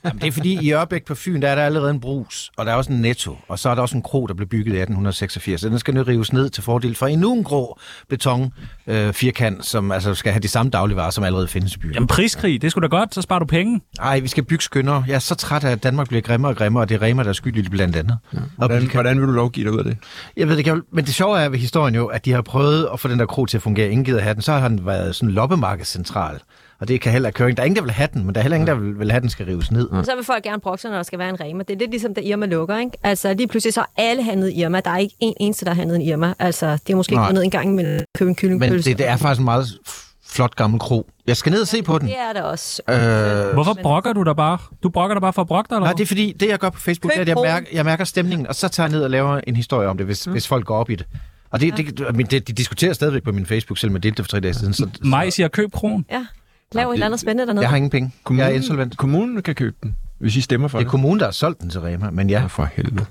Jamen, det er fordi i Ørbæk på Fyn, der er der allerede en brus, og der er også en netto, og så er der også en kro, der blev bygget i 1886. Så den skal nu rives ned til fordel for endnu en grå beton øh, firkant, som altså skal have de samme dagligvarer, som allerede findes i byen. Jamen priskrig, det skulle da godt, så sparer du penge. Nej, vi skal bygge skynder. Jeg er så træt af, at Danmark bliver grimmere og grimmere, og det er Rema, der er skyld i det blandt andet. Ja. Og Hvordan, hvordan vil du lovgive dig ud af det? Jeg ved det, ikke, jeg vil- men det sjove er ved historien jo, at de har prøvet at få den der kro til at fungere. Ingen gider have den. Så har den været sådan loppemarkedscentral. Og det kan heller ikke køre. Der er ingen, der vil have den, men der er heller ingen, der vil, vil have den skal rives ned. Og så vil folk gerne brokse, når der skal være en Rema. Det er lidt ligesom, da Irma lukker, ikke? Altså, lige pludselig så har alle handlet i Irma. Der er ikke en eneste, der har handlet i Irma. Altså, det er måske Nej. ikke ned en gang imellem at købe en Men kyllingpølse. det, det er faktisk en meget f- flot gammel kro. Jeg skal ned og se på den. Det er der også. Øh, Hvorfor brokker du dig bare? Du brokker dig bare for at brokke dig, eller Nej, hvad? det er fordi, det jeg gør på Facebook, Køb det er, at jeg broen. mærker, jeg mærker stemningen, og så tager jeg ned og laver en historie om det, hvis, hvis folk går op i det. Og det, det, det, men det, de diskuterer stadigvæk på min Facebook, selvom jeg delte det for tre dage siden. Så, så Maj siger, køb kron. Ja. Lav et eller andet spændende dernede. jeg har ingen penge. Jeg er insolvent. kommunen kan købe den, hvis I stemmer for Det det. er kommunen, der har solgt den til Rema, men ja. Ja, for helvede.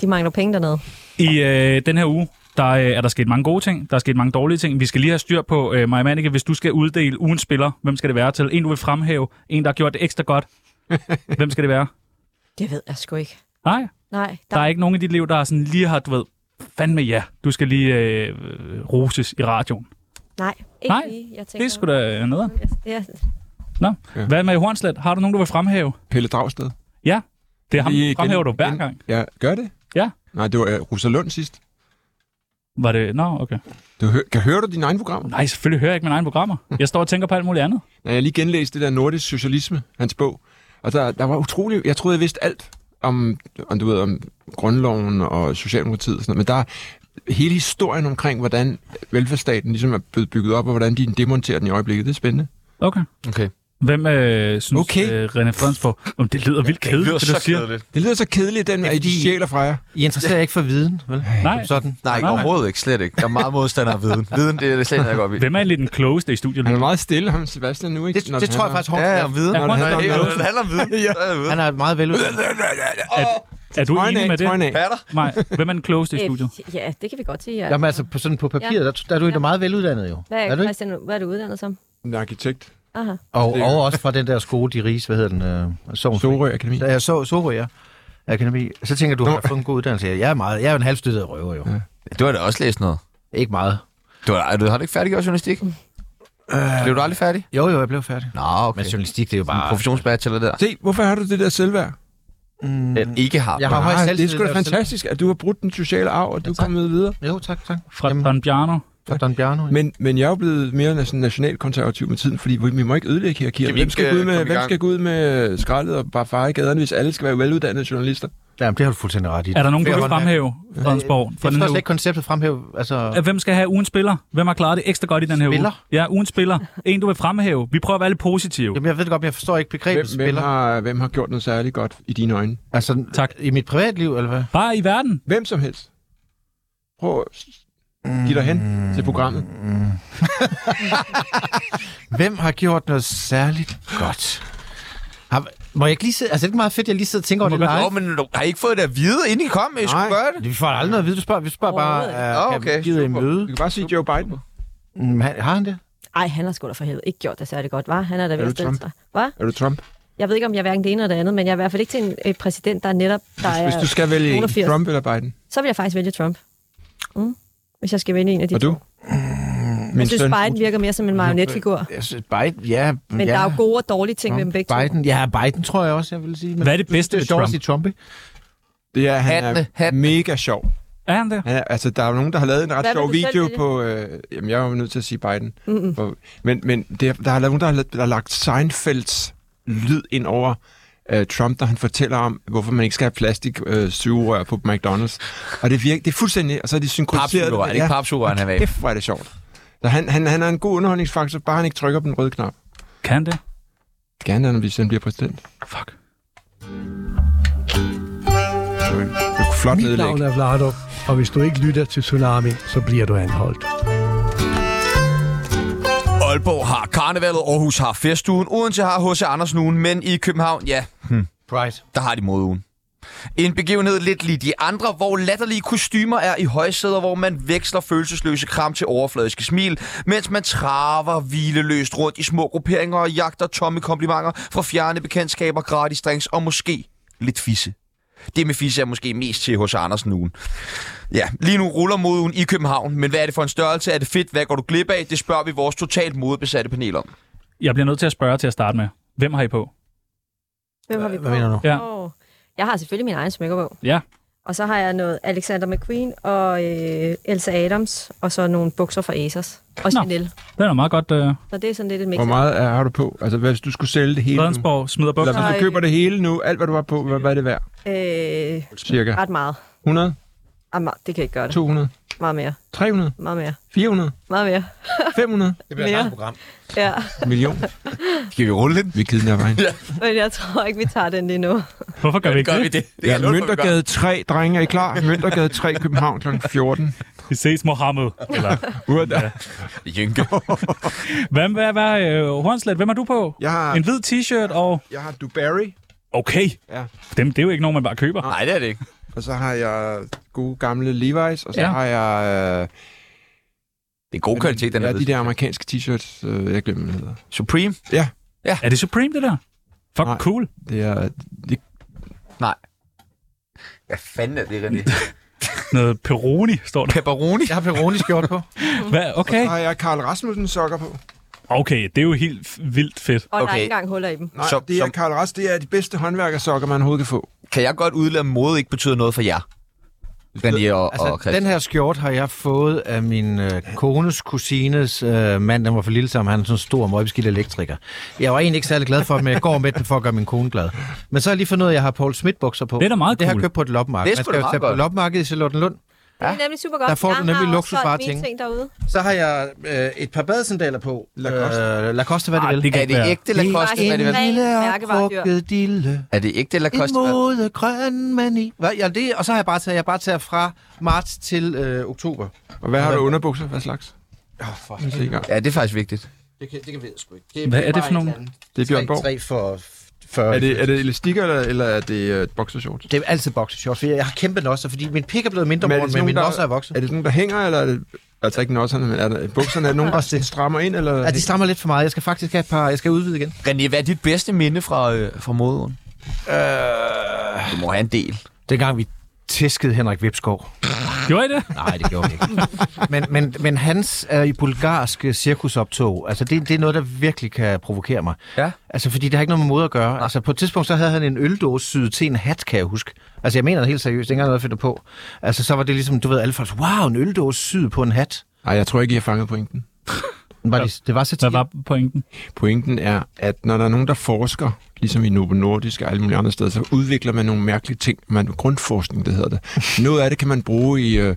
De mangler penge dernede. I øh, den her uge, der øh, er der sket mange gode ting, der er sket mange dårlige ting. Vi skal lige have styr på, øh, Maja Manneke, hvis du skal uddele ugens spiller, hvem skal det være til? En, du vil fremhæve, en, der har gjort det ekstra godt. hvem skal det være? Det ved jeg sgu ikke. Nej, Nej, der, der er ikke nogen i dit liv, der er sådan lige har, du ved, fandme ja, du skal lige øh, roses i radioen. nej, ikke Nej, lige. Jeg tænker, Det er sgu da noget. Ja, Nå, hvad med Hornslet? Har du nogen, du vil fremhæve? Pelle Dragsted. Ja, det er ham, Lige igen- fremhæver du hver igen. gang. Ja, gør det? Ja. Nej, det var uh, Rosalund sidst. Var det... Nå, okay. Du hø- kan høre du dine egne programmer? Nej, selvfølgelig hører jeg ikke mine egne programmer. Jeg står og tænker på alt muligt andet. Nej, jeg har lige genlæst det der nordisk socialisme, hans bog. Og der, der var utrolig... Jeg troede, jeg vidste alt om, om, du ved, om grundloven og Socialdemokratiet og sådan noget, men der er hele historien omkring, hvordan velfærdsstaten ligesom er blevet bygget op, og hvordan de demonterer den i øjeblikket. Det er spændende. Okay. Okay. Hvem øh, synes Okay. okay. Øh, René Frans for? Om det lyder vildt kedeligt, det, du siger. Det lyder så kedeligt, den, at de fordi- stjæler fra jer. I interesserer ikke for viden, vel? Nej. Sådan. Nej, Nej. overhovedet ikke. Slet ikke. Jeg er meget modstander af viden. Viden, det er slet ikke, jeg går op i. Hvem er lidt den klogeste i studiet? Han er lige nu? meget stille, ham Sebastian nu, ikke? Det, det tror jeg faktisk hårdt. Ja, Ja, om viden. Ja, Når det Ronny, handler om det er viden. jo- Når det handler om viden. så er det viden. Han er meget vel. Er du Trøjen enig af, med trøjen det? af. Patter. Nej. Hvem er den klogeste i studiet? Øh, ja, det kan vi godt sige. Ja. Jamen altså, på, sådan på papiret, der, der er du jo meget veluddannet jo. Hvad er er, du ikke? Christian, hvad er du uddannet som? En arkitekt. Aha. Og, og også fra den der skole, de riges, hvad hedder den? Øh, Sogn. Sorø Akademi. Da jeg så Sorø, ja. Akademi. Så tænker du, har jeg fået en god uddannelse? Jeg er, meget, jeg er jo en halvstøttet røver jo. Ja. Du har da også læst noget. Ikke meget. Du har, du har du ikke færdiggjort journalistik? Blev du aldrig færdig? Jo, jo, jeg blev færdig. Øh. Nå, okay. Men journalistik, det er jo En bare... professionsbachelor der. Se, hvorfor har du det der selvværd? Den ikke har. Jeg har Nej, høj det er selvtillid, sgu da jeg vil selv- fantastisk, at du har brudt den sociale arv, og du er tak. kommet videre. Jo, tak, tak. Fra Jamen. Don Bjarno? Tak, Don Bjarno. ja. Men, men jeg er jo blevet mere næsten nationalkonservativ med tiden, fordi vi vi må ikke ødelægge hierarkier. Kan vi Hvem ikke, skal, gå ud øh, med, komme i hvem gang? skal gå ud med øh, skraldet og bare fare i gaderne, hvis alle skal være veluddannede journalister? Jamen, det har du fuldstændig ret i. Er der nogen, du vil Fair håndværk. fremhæve, Fredensborg? Øh, Jeg For den forstår her slet uge? ikke konceptet fremhæve. Altså, At Hvem skal have ugen spiller? Hvem har klaret det ekstra godt i den her uge? Spiller? Ja, ugen spiller. En, du vil fremhæve. Vi prøver at være lidt positive. jamen, jeg ved det godt, men jeg forstår ikke Hvem, begrebet hvem, spiller. har, hvem har gjort noget særligt godt i dine øjne? Altså, Tak. i mit privatliv, eller hvad? Bare i verden. Hvem som helst. Prøv at give dig hen til programmet. Hvem har gjort noget særligt godt? Har, må jeg ikke lige sidde... Altså, det er ikke meget fedt, jeg lige sidder og tænker over det Nej. Nå, live. men du har I ikke fået det at vide, inden I kom, at I skulle Nej. gøre det? Vi får aldrig noget at vide. Du spørger, vi spørger bare, Åh, uh, okay. okay. kan vi give en Du møde? kan bare sige Joe Biden. Mm, han- har han det? Ej, han har sgu da for helvede ikke gjort det særlig godt, var? Han er da ved du at stille Trump? sig. Hva? Er du Trump? Jeg ved ikke, om jeg er hverken det ene eller det andet, men jeg er i hvert fald ikke til en øh, præsident, der er netop... Der er, Hvis du skal vælge en, 88. Trump eller Biden. Så vil jeg faktisk vælge Trump. Mm. Hvis jeg skal vælge en af de Og du? Min Jeg synes, Biden virker mere som en marionetfigur. Jeg synes, Biden, ja. Men ja. der er jo gode og dårlige ting ved dem begge to. Biden, ja, Biden tror jeg også, jeg vil sige. Men Hvad er det bedste det ved er sjovt at Trump? sige Trump, ikke? Det er, han Hattene, er hattene. mega sjov. Er han det? Han er, altså, der er jo nogen, der har lavet en ret Hvad vil sjov du selv video vælge? på... Øh, jamen, jeg var nødt til at sige Biden. Mm-mm. For, men men det, der er nogen, der har, la- der har lagt Seinfelds lyd ind over øh, Trump, der han fortæller om, hvorfor man ikke skal have plastik øh, sugerør på McDonald's. Og det, virker, det er fuldstændig... Og så er de synkroniseret... Papsugerøren, ikke papsugerøren, han er af. Kæft, hvor er det sjovt. Så han, han, han er en god underholdningsfaktor, bare han ikke trykker på den røde knap. Kan han det? Gerne, når vi han bliver præsident. Fuck. Det er jo en- det er jo et flot Mit nedlæg. navn er Vlado, og hvis du ikke lytter til Tsunami, så bliver du anholdt. Aalborg har karnevalet, Aarhus har festugen, Odense har H.C. Andersen ugen, men i København, ja, Pride. der har de modeugen. En begivenhed lidt lige de andre, hvor latterlige kostymer er i højsæder, hvor man veksler følelsesløse kram til overfladiske smil, mens man traver hvileløst rundt i små grupperinger og jagter tomme komplimenter fra fjerne bekendtskaber, gratis drinks og måske lidt fisse. Det med fisse er måske mest til hos Andersen ugen. Ja, lige nu ruller modeugen i København, men hvad er det for en størrelse? Er det fedt? Hvad går du glip af? Det spørger vi vores totalt modebesatte panel om. Jeg bliver nødt til at spørge til at starte med. Hvem har I på? Hvem har vi Hvad mener du? Ja. Åh. Jeg har selvfølgelig min egen smykkebog. Ja. Og så har jeg noget Alexander McQueen og øh, Elsa Adams, og så nogle bukser fra Asos og Nå. Chanel. Den er meget godt. Øh, Så det er sådan lidt et mix. Hvor meget er, har du på? Altså, hvis du skulle sælge det hele nu? Fredensborg smider Eller bukser. hvis du Nej. køber det hele nu, alt hvad du har på, hvad, hvad er det værd? Øh, Cirka ret meget. 100, Ah, meget. Det kan ikke gøre det. 200, Meget mere. 300, Meget mere. 400, Meget mere. 500 Det bliver et Mere. langt program. Ja. millioner. Skal vi rulle lidt? Vi kidnapper hende. Men jeg tror ikke, vi tager den lige nu. Hvorfor gør vi ikke Gør vi det? det? det Ja, Møntergade 3, drenge, er I klar? Møntergade 3, København kl. 14. Vi ses, Mohammed. Eller, Uret der. Jynke. hvad, hvad, hvad, øh, Hornslet, hvem har du på? Jeg har, En hvid t-shirt og... jeg har Dubarry, Okay. Ja. Dem, det er jo ikke nogen, man bare køber. Nej, det er det ikke. og så har jeg gode gamle Levi's, og så Ja. ja. har jeg... Øh, Det er god kvalitet, den ja, her. de der amerikanske t-shirts, øh, jeg glemmer, hvad det hedder. Supreme? Er det Supreme, det der? Fuck, Nej. cool. Det er, det, Hvad fanden er det, René? Noget Peroni, står der. Pepperoni? Jeg har Peroni skjort på. Hvad? så Okay. har jeg Karl Rasmussen sokker på. Okay, det er jo helt f- vildt fedt. Og okay. der er Okay. ikke engang huller i dem. Nej, Som- som, det er som- Karl Rasmussen, det er de bedste håndværkersokker, man overhovedet kan få. Kan jeg godt udlade, at mode ikke betyder noget for jer? René og, altså, og Altså, Christian. den her skjort har jeg fået af min øh, kones kusines øh, mand, der var for lille sammen. Han er sådan en stor, møgbeskidt elektriker. Jeg var egentlig ikke særlig glad for den, men jeg går med den for at gøre min kone glad. Men så har jeg lige fundet ud af, at jeg har Paul Smith bukser på. Det er da meget Det har jeg cool. købt på et loppemarked. Det er sgu Man skal da jo meget tage på godt. loppemarkedet i Charlottenlund. Det er nemlig super godt. Der får du Jeg nemine har også luksusvarer solgt mine ting. ting derude. Så har jeg øh, et par badesandaler på. Lacoste. Øh, Lacoste, hvad det vil. det kan Er ikke det være. ægte Lacoste? hvad Det var Er det, en vel? ren- Lille og mærkevaredyr. krokodille. er det ægte En Lacoste? hvad? mode grøn mani. Hvad? Ja, det, og så har jeg bare taget, jeg har bare taget fra marts til øh, oktober. Og hvad har du underbukser? Hvad slags? Åh, oh, for Se i gang. Ja, det er faktisk vigtigt. Det kan, det kan vi sgu ikke. Det Hvad er det bare for et nogle? eller andet. Det er Bjørn Borg. Tre- Tre for 40. Er det, er det elastikker, eller, eller er det øh, boxershorts? det er altid boxershorts, for jeg har kæmpe nosser, fordi min pik er blevet mindre, Men er det men, morgen, sådan men min nogle, der- nosser er vokset. Er det sådan, der hænger, eller er det... Altså ikke nosserne, men er der bukserne? Er der nogen, Også der det. strammer ind, eller... Ja, de stammer lidt for meget. Jeg skal faktisk have et par... Jeg skal udvide igen. René, hvad er dit bedste minde fra, øh, fra modeugen? Øh... Du må have en del. Dengang vi tæskede Henrik Vipskov. Gjorde I det? Nej, det gjorde vi ikke. men, men, men hans øh, bulgarske cirkusoptog, altså det, det er noget, der virkelig kan provokere mig. Ja. Altså, fordi det har ikke noget med måde at gøre. Altså, på et tidspunkt, så havde han en øldåse syet til en hat, kan jeg huske. Altså, jeg mener det helt seriøst. Det er ikke engang noget, jeg finder på. Altså, så var det ligesom, du ved, alle folk, wow, en øldåse syet på en hat. Nej, jeg tror ikke, I har fanget pointen. Var det, det var så Hvad var pointen? Pointen er, at når der er nogen, der forsker, ligesom i Novo Nordisk og alle mulige andre steder, så udvikler man nogle mærkelige ting. Man, grundforskning, det hedder det. Noget af det kan man bruge i, øh,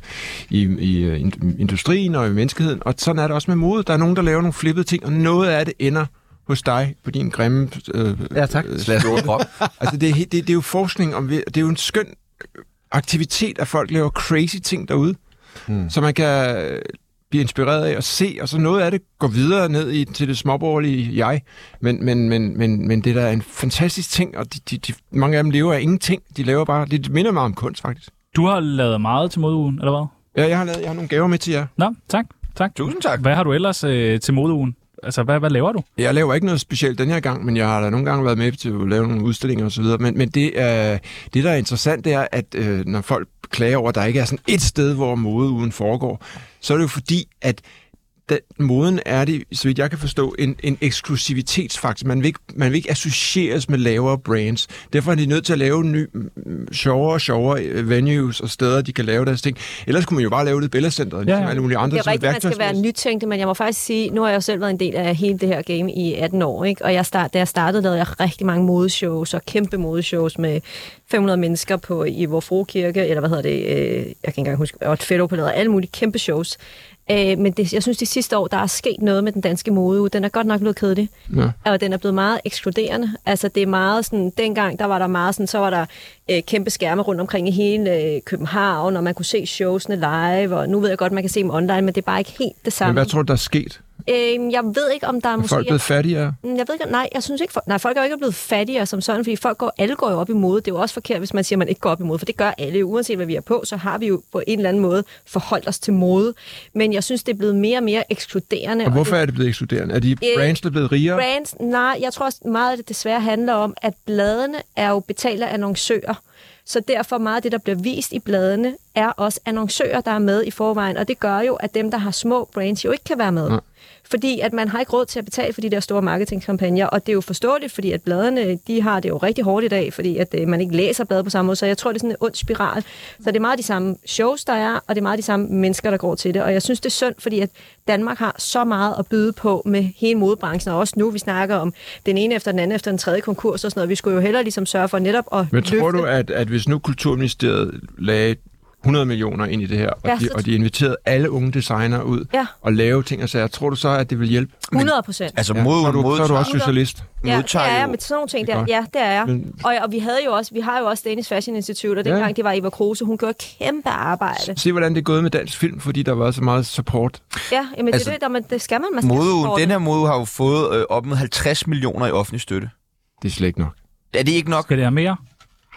i, i øh, ind- industrien og i menneskeheden, og sådan er det også med mode. Der er nogen, der laver nogle flippede ting, og noget af det ender hos dig på din grimme... Øh, Ja, tak. øh, Slags krop. altså, det, er, he- det, det er jo forskning, om, vi- det er jo en skøn aktivitet, at folk laver crazy ting derude, mm. som man kan øh, blive inspireret af at se, og så noget af det går videre ned i, til det småborgerlige jeg. Men, men, men, men, men det der er en fantastisk ting, og de, de, de, mange af dem lever af ingenting. De laver bare, det minder meget om kunst, faktisk. Du har lavet meget til modeugen, eller hvad? Ja, jeg har, lavet, jeg har nogle gaver med til jer. Nå, tak. tak. Tusind tak. Hvad har du ellers øh, til modeugen? Altså, hvad, hvad laver du? Jeg laver ikke noget specielt den her gang, men jeg har da nogle gange været med til at lave nogle udstillinger osv. Men, men det, øh, det, der er interessant, det er, at øh, når folk klager over, at der ikke er sådan et sted, hvor modeugen foregår, så er det jo fordi, at den, moden er det, så vidt jeg kan forstå, en, en eksklusivitetsfaktor. Man vil, ikke, man vil ikke associeres med lavere brands. Derfor er de nødt til at lave ny, mm, sjovere og sjovere øh, venues og steder, de kan lave deres ting. Ellers kunne man jo bare lave det i billedcenteret, ligesom alle mulige andre. Det er som rigtigt, man skal være værktøjsmæssigt. nytænkte, men jeg må faktisk sige, nu har jeg jo selv været en del af hele det her game i 18 år, ikke? og jeg start, da jeg startede, lavede jeg rigtig mange modeshows og kæmpe modeshows med 500 mennesker på, i vor Frue kirke, eller hvad hedder det, øh, jeg kan ikke engang huske, og et fedtopalade, og alle mulige kæmpe shows. Øh, men det, jeg synes, de sidste år, der er sket noget med den danske mode. Den er godt nok blevet kedelig. Ja. Og den er blevet meget ekskluderende. Altså, det er meget sådan, dengang, der var der meget sådan, så var der øh, kæmpe skærme rundt omkring i hele øh, København, og man kunne se showsene live, og nu ved jeg godt, man kan se dem online, men det er bare ikke helt det Men samme. hvad tror du, der er sket? øh, jeg ved ikke, om der er Er måske... folk blevet fattigere? Mm, Jeg ved ikke, nej, jeg synes ikke, for, nej, folk er jo ikke blevet fattigere som sådan, fordi folk går, alle går jo op i mode. Det er jo også forkert, hvis man siger, at man ikke går op i mode, for det gør alle. Uanset hvad vi er på, så har vi jo på en eller anden måde forholdt os til mode. Men jeg synes, det er blevet mere og mere ekskluderende. Og hvorfor det, er det blevet ekskluderende? Er de Øh, brands, der er blevet rigere? brands, nej, jeg tror også meget, at det desværre handler om, at bladene er jo betalt af annoncører. Så derfor meget af det, der bliver vist i bladene, er også annoncører, der er med i forvejen. Og det gør jo, at dem, der har små brands, jo ikke kan være med. Fordi at man har ikke råd til at betale for de der store marketingkampagner. Og det er jo forståeligt, fordi at bladene, Øh, de har det jo rigtig hårdt i dag, fordi at øh, man ikke læser blade på samme måde. Så jeg tror, det er sådan en ond spiral. Så det er meget de samme shows, der er, og det er meget de samme mennesker, der går til det. Og jeg synes, det er synd, fordi at Danmark har så meget at byde på med hele modebranchen. Og også nu, vi snakker om den ene efter den anden, efter den tredje konkurs og sådan noget. Vi skulle jo hellere ligesom sørge for netop at Men tror løfte- du, at, at hvis nu Kulturministeriet lagde 100 millioner ind i det her, og, Ja, de, så- og de inviterede alle unge designer ud Ja. og lave ting og sager, tror du så, at det vil hjælpe? 100 procent. Altså, Ja, så, er modeugen du, så er du også socialist. Ja, det modtager er jeg, jo- med sådan nogle ting Det er der. godt. Ja, det er jeg. Men- Og, og vi havde jo også, vi har jo også Danish Fashion Institute, og Ja. dengang det var Eva Kruse, hun gjorde kæmpe arbejde. Se, hvordan det er gået med dansk film, fordi der var så meget support. Ja, jamen altså, Altså, det, er det, der, man, det skal man. man skal Modeugen, supporte. den her mode har jo fået øh, op mod 50 millioner i offentlig støtte. Det er slet ikke nok. Er det ikke nok? Skal det have mere?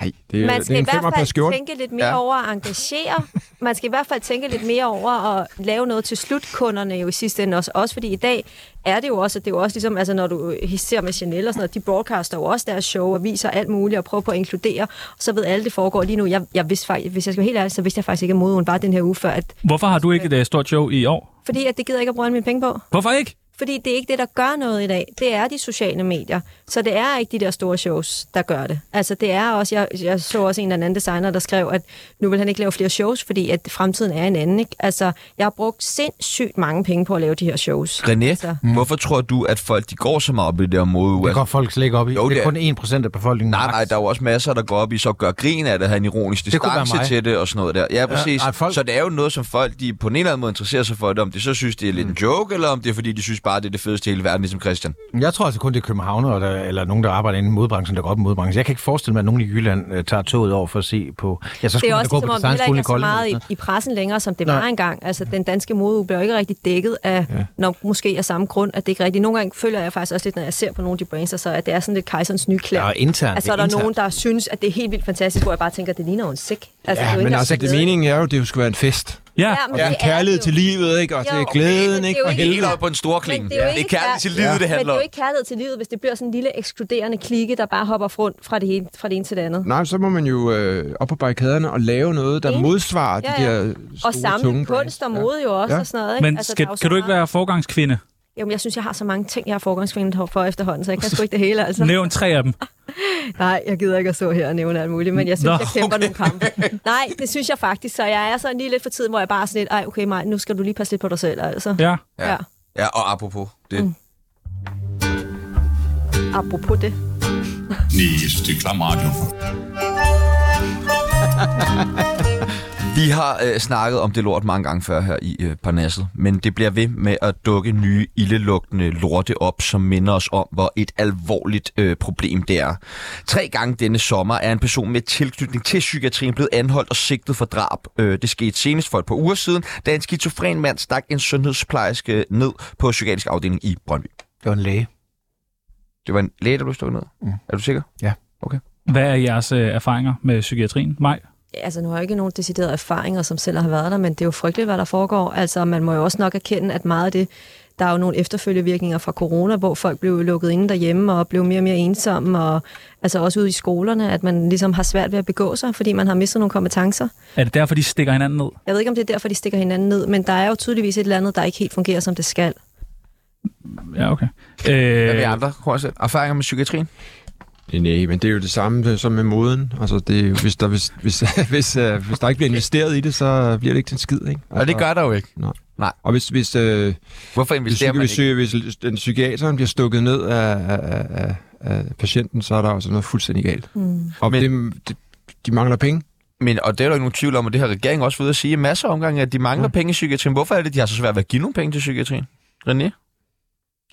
Nej, det, er- Man det skal er i en femmer hvert per fald skjort. tænke lidt mere Ja. ja. over at engagere. Man skal i hvert fald tænke lidt mere over at lave noget til slutkunderne jo i sidste ende også. Også fordi i dag er det jo også, at det er jo også ligesom, altså når du ser med Chanel og sådan noget, de broadcaster jo også deres show og viser alt muligt og prøver på at inkludere. Og så ved alle, det foregår lige nu. Jeg, jeg vidste faktisk, hvis jeg skal være helt ærlig, så vidste jeg faktisk ikke, at modeugen var den her uge før. At, Hvorfor har du ikke et øh, stort show i år? fordi at det gider jeg ikke at bruge alle mine penge på. Hvorfor ikke? Fordi det er ikke det, der gør noget i dag. Det er de sociale medier. Så det er ikke de der store shows, der gør det. Altså det er også, jeg, jeg så også en eller anden designer, der skrev, at nu vil han ikke lave flere shows, fordi at fremtiden er en anden. Ikke? Altså jeg har brugt sindssygt mange penge på at lave de her shows. René, Altså. mm. hvorfor tror du, at folk de går så meget op i det her mode? Det går folk slet ikke op i. Jo, Jo, det det er er- kun 1% af befolkningen. Nej, nej, der er jo også masser, der går op i så gør grin af det, har en ironisk Det kunne være distance mig. til det og sådan noget der. Ja, præcis. Ja, ej, folk... folk- Så det er jo noget, som folk de på en eller anden måde interesserer sig for, det, om de så synes, det er lidt en joke, eller om det er, fordi de synes bare, det er det fedeste i hele verden, ligesom Christian. Jeg tror altså kun, det er københavnere der, eller nogen, der arbejder inden i modbranchen, der går op i modbranchen. Jeg kan ikke forestille mig, at nogen i Jylland øh, tager toget over for at se på... Ja, så Det er skulle man da også gå ligesom, på om det heller designskolen ikke i er så Kolding. meget i, i pressen længere, som det Nej. var engang. Altså, den danske mode bliver jo ikke rigtig dækket af, ja. når, måske af samme grund, at det ikke rigtigt. Nogle gange føler jeg faktisk også lidt, når jeg ser på nogle af de brands, så at det er sådan lidt kejserens nye klæder. Ja, og internt, altså, er der det er nogen, der synes, at det er helt vildt fantastisk, hvor jeg bare tænker, at det ligner jo en sæk. Altså, Ja, jo ikke men engang altså, det glæde. meningen er jo, at det jo skal være en fest. Ja, Ja, men Og det er det en er kærlighed det til jo. livet, ikke? Og Jo, til okay, men glæden, det er ikke? jo Og ikke- Helt helvede. op på en stor klinge. det er jo det er ikke kærlighed kær- til livet, det Men det handler er om. jo ikke kærlighed til livet, hvis det bliver sådan en lille ekskluderende klikke, der bare hopper rundt fra det ene, fra det ene til det andet. Nej, så må man jo øh, op på barrikaderne og lave noget, der Enig. modsvarer Ja, de ja. der store, Og samle tunge kunst og brands. mode jo også Ja. og sådan noget. Ikke? Altså, men der skal, er jo så kan du ikke meget- være forgangskvinde? Jamen, jeg synes, jeg har så mange ting, jeg er forgangskvinde for efterhånden, så jeg kan sgu ikke det hele, altså. Nævn tre af dem. Nej, jeg gider ikke at stå her og nævne alt muligt, men jeg synes, Nå, Nå, jeg kæmper okay. nogle kampe. Nej, det synes jeg faktisk, så jeg er sådan lige lidt for tiden, hvor jeg bare er sådan lidt, ej, okay, Maj, nu skal du lige passe lidt på dig selv, altså. Ja. Ja. ja. Ja, og apropos det. Mm. Apropos det. Vi har øh, snakket om det lort mange gange før her i øh, Parnasset, men det bliver ved med at dukke nye ildelugtende lorte op, som minder os om, hvor et alvorligt øh, problem det er. Tre gange denne sommer er en person med tilknytning til psykiatrien blevet anholdt og sigtet for drab. Øh, det skete senest for et par uger siden, da en skizofren mand stak en sundhedsplejerske ned på psykiatrisk afdeling i Brøndby. Det var en læge. Det var en læge, der blev stukket ned. Mm. Er du sikker? Hvad er jeres øh, erfaringer med psykiatrien? Maj? Ja, altså, nu har jeg ikke nogen deciderede erfaringer, som selv har været der, men det er jo frygteligt, hvad der foregår. Altså, man må jo også nok erkende, at meget af det, der er jo nogle efterfølgevirkninger fra corona, hvor folk blev lukket inde derhjemme og blev mere og mere ensomme, og altså også ude i skolerne, at man ligesom har svært ved at begå sig, fordi man har mistet nogle kompetencer. Er det derfor, de stikker hinanden ned? Jeg ved ikke, om det er derfor, de stikker hinanden ned, men der er jo tydeligvis et eller andet, der ikke helt fungerer, som det skal. Ja, okay. Hvad med Øh, andre, Horset? Erfaringer med psykiatrien? Nej, men det er jo det samme øh, som med moden. Altså, det er, jo- hvis, der, hvis, hvis, hvis, øh, hvis der ikke bliver investeret i det, så bliver det ikke til en skid, ikke? Altså, Og det gør der jo ikke. Og hvis, hvis, øh, Hvorfor hvis, investerer psyki- man hvis, ikke? psy- hvis den psykiateren bliver stukket ned af, af, af- af, af patienten, så er der også noget fuldstændig galt. Mm. Og Men- men, det, de mangler penge. Men, og det er der ikke nogen tvivl om, og det har regeringen også ved at sige i masser af omgange, at de Mm. mangler ja. penge i psykiatrien. Hvorfor er det, de har så svært ved at give nogle penge til psykiatrien? René?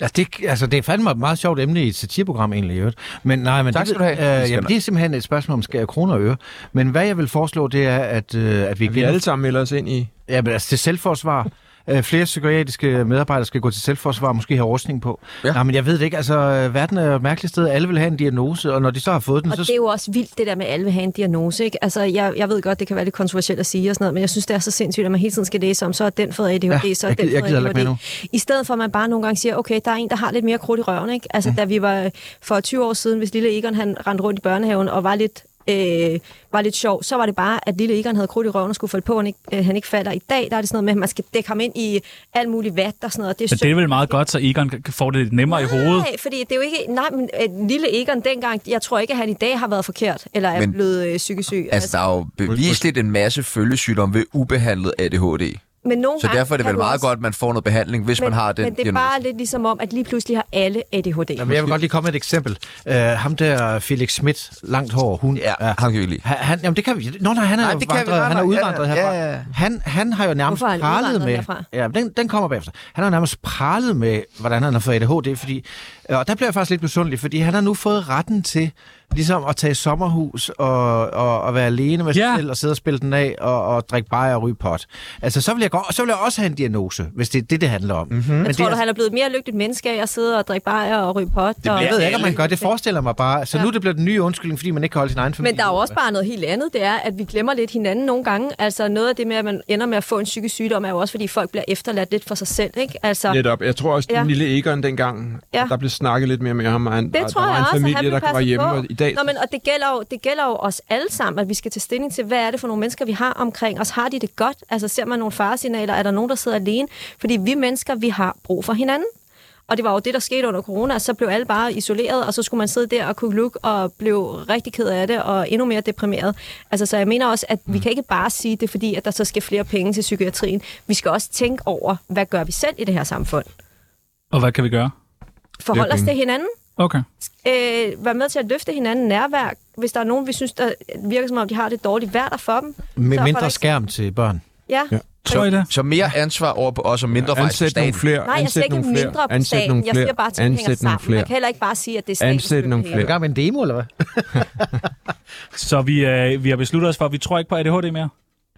Altså det, altså, det er fandme et meget sjovt emne i et satireprogram egentlig, i øvrigt. Men, nej, men Tak det, skal du have. Øh, jamen, det er simpelthen et spørgsmål om skal kroner og øre. Men hvad jeg vil foreslå, det er, at, øh, at vi, Vi alle sammen melder os ind i... Ja, men altså til selvforsvar. Øh, Flere psykiatriske medarbejdere skal gå til selvforsvar og måske have rustning på. Ja. Ja. Nej, men jeg ved det ikke. Altså, øh, verden er jo et mærkeligt sted. Alle vil have en diagnose, og når de så har fået den, Og så... det er jo også vildt, det der med, at alle vil have en diagnose. Ikke? Altså, jeg, jeg ved godt, det kan være lidt kontroversielt at sige og sådan noget, men jeg synes, det er så sindssygt, at man hele tiden skal læse om, så er den fået ADHD, ja, så er jeg den gider- jeg fået gider heller ikke ADHD. med I stedet for, at man bare nogle gange siger, okay, der er en, der har lidt mere krudt i røven. Ikke? Altså, mm. da vi var for 20 år siden, hvis lille Egon han rendte rundt i børnehaven og var lidt Øh, var lidt sjov, så var det bare, at lille Egon havde krudt i røven og skulle falde på, at han ikke, øh, han ikke falder. I dag der er det sådan noget med, at man skal dække ham ind i alt muligt vat og sådan noget. og Det er men synd. det er vel meget godt, så Egon kan- får det lidt nemmere i hovedet. Nej, fordi det er jo ikke... Nej, men øh, lille Egon dengang, jeg tror ikke, at han i dag har været forkert, eller er Men- men, blevet øh, psykisk syg. Altså, der er jo bevisligt en masse følgesygdomme ved ubehandlet ADHD. men nogle Så gange derfor er det kan vel du meget også- godt, at man får noget behandling, hvis man har den Men det er bare lidt ligesom om, at lige pludselig har alle ADHD. Jamen, jeg vil godt lige komme med et eksempel. Uh, ham der, Felix Schmidt, langt hår, hun... Ja, ham kan vi lide. Han, han, jamen det kan vi. Nå nej, han er Nej, jo det kan vi. vandret, Nej, han er nej, ja, udvandret ja, herfra. ja, ja. Han, han har jo nærmest Hvorfor er han pralet udvandret med... derfra? Ja, den, den kommer bagefter. Han har jo nærmest pralet med, hvordan han har fået ADHD, fordi... Og der bliver jeg faktisk lidt besundelig, fordi han har nu fået retten til ligesom at tage i sommerhus og, og, og være alene med sig Ja. selv og sidde og spille den af og, og drikke bajer og ryge pot. Altså, så vil, jeg, godt, så vil jeg også have en diagnose, hvis det er det, det handler om. Mm-hmm. Men Jeg tror, det du, er, han er blevet et mere lykkeligt menneske af at sidde og drikke bajer og ryge pot. Det og... jeg ved ikke, om man gør det. forestiller mig bare. Så nu er det blevet den nye undskyldning, fordi man ikke kan holde sin egen familie. Men der er jo også bare noget helt andet, det er, at vi glemmer lidt hinanden nogle gange. Altså noget af det med, at man ender med at få en psykisk sygdom, er jo også, fordi folk bliver efterladt lidt for sig selv, ikke? Altså, Netop. Jeg tror også, den Ja. lille Egon dengang, Ja. der blev snakket lidt mere med ham, og han, Det og tror der var jeg en også, at han familie, blev der var passet hjemme, på. og i dag Nå, men, og det gælder, jo, det gælder jo os alle sammen, at vi skal tage stilling til, hvad er det for nogle mennesker, vi har omkring os? Har de det godt? Altså ser man nogle faresignaler? Er der nogen, der sidder alene? Fordi vi mennesker, vi har brug for hinanden. Og det var jo det, der skete under corona. Så blev alle bare isoleret, og så skulle man sidde der og kunne lukke og blev rigtig ked af det og endnu mere deprimeret. Altså, så jeg mener også, at vi kan ikke bare sige det, er fordi at der så skal flere penge til psykiatrien. Vi skal også tænke over, hvad gør vi selv i det her samfund? Og hvad kan vi gøre? Forhold os penge. til hinanden. Okay. Øh, være med til at løfte hinanden nærvær. Hvis der er nogen, vi synes, der virker som om, de har det dårligt, vær der for dem. Med Så er mindre folk- skærm til børn. Ja. ja. Tror I det? Så mere ansvar over på os og mindre vej på Ansæt nogle staten. flere. Nej, jeg ansæt siger ikke nogle flere. mindre på ansæt staten. nogle Jeg flere. siger bare, at ting hænger Ansæt nogle sammen. Man flere. kan heller ikke bare sige, at det er statens Ansæt nogle Er myndigheder. du i gang med en demo, eller hvad? Så vi, øh, vi har besluttet os for, at vi tror ikke på ADHD mere.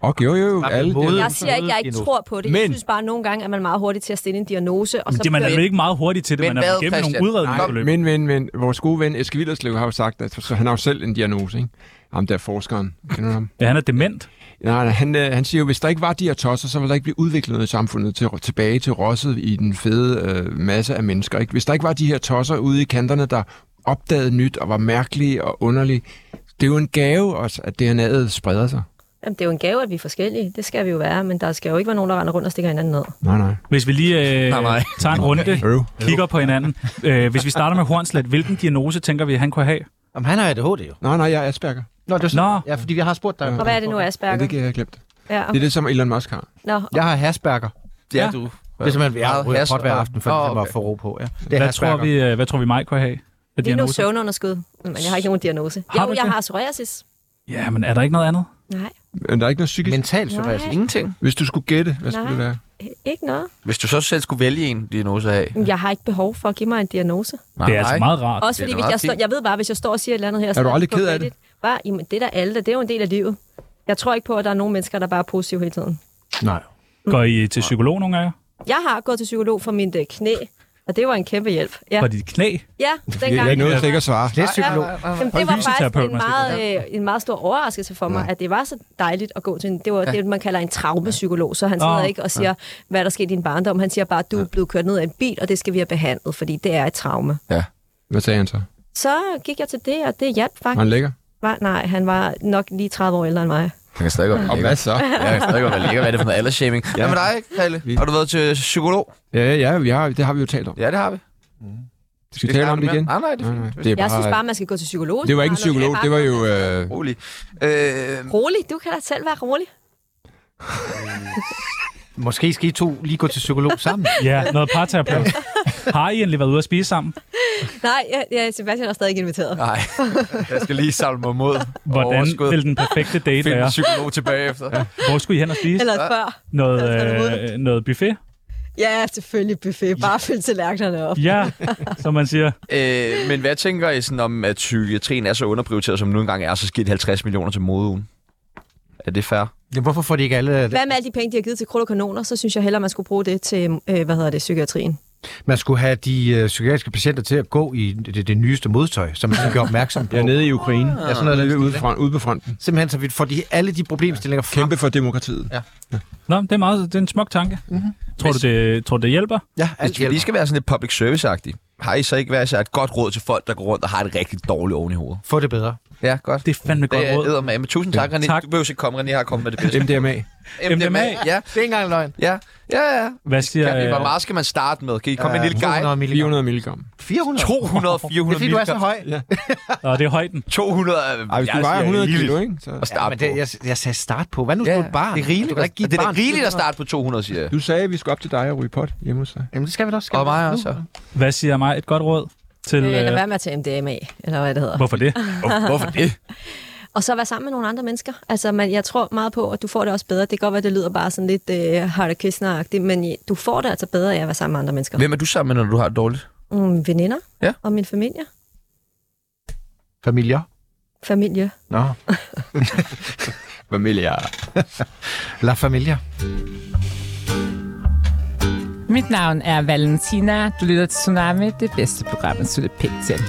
Okay, jo, jo, jo. Bare Alle mod- det. Jeg siger ikke, at jeg ikke Endnu. tror på det. Jeg Men- synes bare, at nogle gange er man meget hurtig til at stille en diagnose. Og så Det, man er kører- vel ikke meget hurtig til det, Men man er hvad, vel igennem nogle Christian? udredningsforløb. Men, men, men, vores gode ven Eske Villerslev har jo sagt, at så han har jo selv en diagnose, ikke? Ham der forskeren, kender du ham? Ja, han er dement. Nej, nej han, øh, han siger jo, hvis der ikke var de her tosser, så ville der ikke blive udviklet noget i samfundet til, tilbage til rosset i den fede øh, masse af mennesker. Ikke? Hvis der ikke var de her tosser ude i kanterne, der opdagede nyt og var mærkelige og underlige, det er jo en gave også, at DNA'et spreder sig. Jamen, det er jo en gave, at vi er forskellige. Det skal vi jo være. Men der skal jo ikke være nogen, der render rundt og stikker hinanden ned. Nej, nej. Hvis vi lige øh, Nej, nej. tager en runde, Øv. kigger på hinanden. Øh, hvis vi starter med Hornslet, hvilken diagnose tænker vi, han kunne have? Jamen, han har ADHD jo. Nej, nej, jeg er Asperger. Nå, det er Nå. Ja, fordi vi har spurgt dig. Og hvad er det nu, Ja, Asperger? det kan jeg have glemt. Ja. Det er det, som Elon Musk har. Nå, Jeg har Asperger. Ja, Ja. du. Hvis man vil Meget have has- pot hver aften, for Åh, oh, okay. okay. at få ro på. Ja. Det er Hvad Asperger. tror, vi, øh, hvad tror vi, mig kunne have? Af lige nu diagnoser? søvnunderskud. Men jeg har ikke nogen diagnose. Har du Jo, ikke jeg det? har psoriasis. Ja, men er der ikke noget andet? Nej, Men der er ikke noget psykisk. Men... Mental psoriasis. Nej. Ingenting. Hvis du skulle gætte, hvad skulle Nej. det være? ikke noget. Hvis du så selv skulle vælge en diagnose af. Jeg har ikke behov for at give mig en diagnose. Nej, Det er altså meget rart. Også det er fordi, da hvis meget jeg, står, fint. jeg ved bare, hvis jeg står og siger et eller andet her... du aldrig ked af det? Bare, jamen, det er der alle, der- det er jo en del af livet. Jeg tror ikke på, at der er nogen mennesker, der bare er positive hele tiden. Nej. Går I til psykolog nogle af jer? Jeg har gået til psykolog for mit øh, knæ, og det var en kæmpe hjælp. Ja, For dit knæ? ja Det er dengang. ikke noget, der ikke at svare. Det er psykolog. Jamen, det var faktisk fysioterapeut, en man skal meget, øh, en meget stor overraskelse for mig, at det var så dejligt at gå til en... Det var det, man kalder en traumepsykolog, så han sidder Åh. ikke og siger, hvad der skete i din barndom. Han siger bare, at du er blevet kørt ned af en bil, og det skal vi have behandlet, fordi det er et traume. Hvad sagde han så? Så gik jeg til det, og det hjalp Var faktisk. han lækker? Var, nej, han var nok lige 30 år ældre end mig. Jeg kan stadig godt Og hvad så? Jeg kan stadig godt være lækker. Hvad er det for noget aldersshaming? Ja. Hvad med dig, Krille? Har du været til psykolog? Ja, ja, vi har, det har vi jo talt om. Ja, det har vi. Skal vi tale om det igen? Nej, nej, det er Nej, nej, fint. Det er Jeg synes bare, bare, man skal gå til psykolog. det var ikke en psykolog, det var jo... Øh, Rolig. Øh, Rolig, du kan da selv være rolig. Måske skal I to lige gå til psykolog sammen. Ja, noget parterapeut. Har I egentlig været ude at spise sammen? Nej, ja, ja, Sebastian er stadig ikke inviteret. nej, jeg skal lige samle mig mod Hvordan overskud. vil den perfekte date Find en være? psykolog tilbage efter. Ja. Hvor skulle I hen og spise? Eller før. Noget, Eller sådan øh, noget buffet? Ja, selvfølgelig buffet. Bare fyld tallerkenerne op. Ja, som man siger. Øh, men hvad tænker I sådan om, at psykiatrien er så underprioriteret, som den nu engang er, så skidt 50 millioner til modeugen? Er det fair? Jamen, hvorfor får de ikke alle... Hvad med alle de penge, de har givet til krudt og kanoner, så synes jeg hellere, man skulle bruge det til, øh, hvad hedder det, psykiatrien. Man skulle have de øh, psykiatriske patienter til at gå i det, det nyeste modtøj, som man kan gøre opmærksom på. jeg er nede i Ukraine. Ja, sådan noget, der- Ude, ude, front, ude på fronten. Ah. Simpelthen, så vi får de, alle de problemstillinger frem. Kæmpe for demokratiet. Ja. Nå, det er, meget, det er en smuk tanke. Mhm. Tror du, det, tror du, det hjælper? Ja, Hvis alt vi lige hjælper. skal være sådan lidt public service-agtigt, har I så ikke været så et godt råd til folk, der går rundt og har et rigtig dårligt oven i hovedet? Få det bedre. Ja, godt. Det er fandme godt Det råd. er med. Men tusind tak, René. Tak. Du behøver ikke komme, René har kommet med det bedste. MDMA. MDMA. Ja, Det er ikke engang løgn. ja, ja. ja. Hvad siger Kan, hvor øh, meget skal man starte med? Kan I komme med en lille guide? 200 milligram. 400 milligram. 400? 200, Det er 400 fordi, du er så milligram. høj. Nå, det er højden. 200 er... Ej, hvis du vejer 100 kilo, ikke? Så... At Ja, starte men det, på. jeg, jeg sagde start på. Hvad nu, ja, du er et barn? Det er rigeligt. Du kan da ikke give et det er barn da rigeligt at 400. starte på 200, siger jeg. Du sagde, at vi skulle op til dig og ryge pot hjemme hos dig. Jamen, det skal vi da også. Skal Og vi da mig nu? også. Hvad siger mig et godt råd til... Øh, lad Øh, være med at tage MDMA, eller hvad det hedder. hvorfor det? Hvorfor det? Og så være sammen med nogle andre mennesker. Altså, man, jeg tror meget på, at du får det også bedre. Det kan godt være, det lyder bare sådan lidt øh, Hare Krishna-agtigt, men øh, du får det altså bedre af at være sammen med andre mennesker. Hvem er du sammen med, når du har det dårligt? Mm, veninder Ja. og min familie. Familier. Familie. Nå. Familie. La familia. Mit navn er Valentina. Du lytter til Tsunami, det bedste program, at slutte pænt til.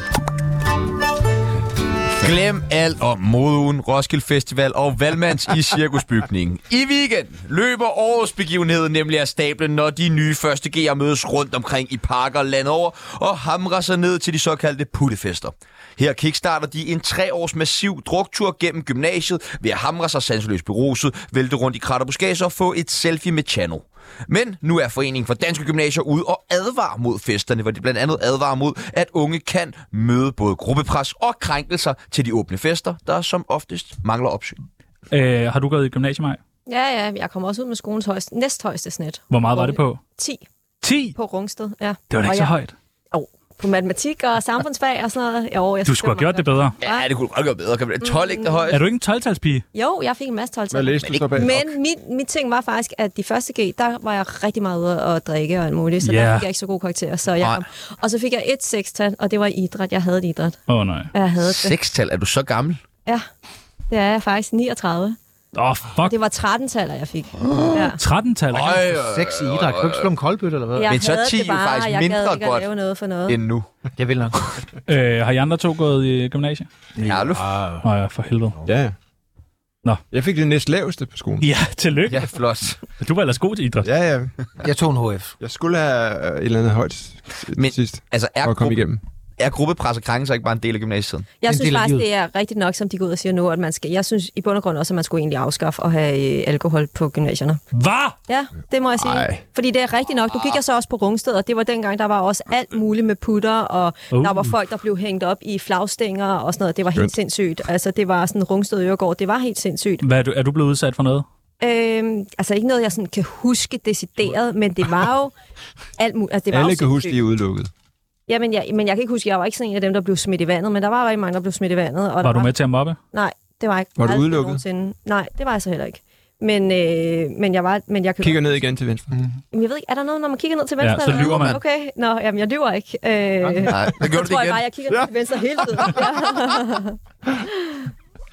Glem alt om modeugen, Roskilde Festival og Valmands i cirkusbygningen. I weekenden løber årets begivenhed nemlig af stablen, når de nye første G'er mødes rundt omkring i parker landet over og hamrer sig ned til de såkaldte puttefester. Her kickstarter de en treårs massiv druktur gennem gymnasiet ved at hamre sig sanseløst beruset, vælte rundt i krat og buskager og få et selfie med Chano. Men nu er Foreningen for Danske Gymnasier ude og advarer mod festerne, hvor de blandt andet advarer mod, at unge kan møde både gruppepres og krænkelser til de åbne fester, der som oftest mangler opsyn. Øh, har du gået i gymnasiet, Maj? Ja, ja, jeg kom også ud med skolens højeste, næsthøjeste snit. Hvor meget var det på? 10 10? på Rungsted, ja. Det var da og ikke så jeg, højt. Jo, på matematik og samfundsfag og sådan noget. Jo, Du jeg synes, skulle have det var gjort det bedre. Ja, Mm. det kunne godt gøre bedre. Kan man 12 ikke det højst? Er du ikke en 12-talspige? godt. Jo, jeg fik en masse 12 Hvad læste du så bag? Men min, min ting var faktisk, at de første G, der var jeg rigtig meget ude at drikke og alt muligt, så yeah. Ja. der fik jeg ikke så gode karakterer. Så jeg Nej. kom. Og så fik jeg et sekstal, og det var i idræt. Jeg havde et idræt. Åh, oh, nej. Og Jeg havde det. Sekstal, er du så gammel? Ja, det er jeg faktisk 39. Åh, oh, fuck. Det var 13 taller jeg fik. Ja. 13-tal. øh, Sex i idræt. Kan du ikke slå en koldbøtte, eller hvad? Jeg Men så havde 10 det jo bare, faktisk jeg mindre gad ikke godt at lave noget for noget. end nu. Jeg vil nok. Øh, har I andre to gået i gymnasiet? Ja, du Nå ja, for helvede. Ja, ja. Nå. Jeg fik det næst laveste på skolen. Ja, tillykke. Ja, flot. Du var ellers god til idræt. Ja, ja. Jeg tog en HF. Jeg skulle have øh, et eller andet højt Men- Men... sidst Altså, er, for at komme gruppe, igennem. er gruppepres og krænkelser ikke bare en del af gymnasietiden? Jeg en synes del af faktisk, livet. det er rigtigt nok, som de går ud og siger nu, at man skal, jeg synes i bund og grund også, at man skulle egentlig afskaffe at have øh, alkohol på gymnasierne. Hvad? Ja, det må jeg sige. Ej. Fordi det er rigtigt nok. Du gik jeg så også på Rungsted, og det var dengang, der var også alt muligt med putter, og Uh. uh. der var folk, der blev hængt op i flagstænger og sådan noget. Det var helt sindssygt. Altså, det var sådan Rungsted Øregård. Det var helt sindssygt. Hvad er, du, er du blevet udsat for noget? Øhm, altså, ikke noget, jeg sådan kan huske decideret, men det var jo alt muligt. Altså, det var Alle jo kan huske, sindssygt. de er udelukket. Jamen, jeg, men jeg kan ikke huske, jeg var ikke sådan en af dem, der blev smidt i vandet, men der var rigtig mange, der blev smidt i vandet. Og der Var du med til at mobbe? Nej, det var jeg ikke. Var du Aldrig udelukket? Nogensinde. Nej, det var jeg så heller ikke. Men, øh, men jeg var... Men jeg, kan, Kigger ned igen til venstre. jeg ved ikke, er der noget, når man kigger ned til venstre? Ja, så eller lyver hvad? man. Okay, nå, jamen, jeg lyver ikke. Øh, jeg Nej, det gjorde du det tror jeg igen. bare, jeg kigger ned til venstre hele tiden. Ja.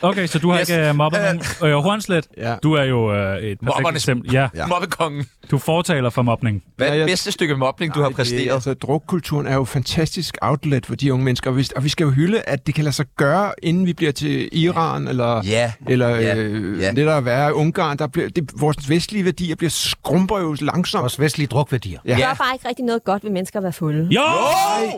Okay, så du har Yes. yes. ikke uh, mobbet Øh. nogen. Øh, Hornslet, Ja. du er jo uh, et perfekt Mobbernes- eksempel. Ja, Ja. Mobbekongen. du er fortaler for mobning. Hvad er Ja, det jeg- bedste stykke mobning, du har Det, præsteret? altså, drukkulturen er jo et fantastisk outlet for de unge mennesker, og vi, og vi skal jo hylde, at det kan lade sig gøre, inden vi bliver til Iran, eller, Ja. eller Ja. øh, Ja. det der er værre, Ungarn. Der bliver, det, vores vestlige værdier bliver skrumper jo langsomt. Vores vestlige drukværdier. Jeg Ja. gør bare ikke rigtig noget godt ved mennesker at være fulde. Jo!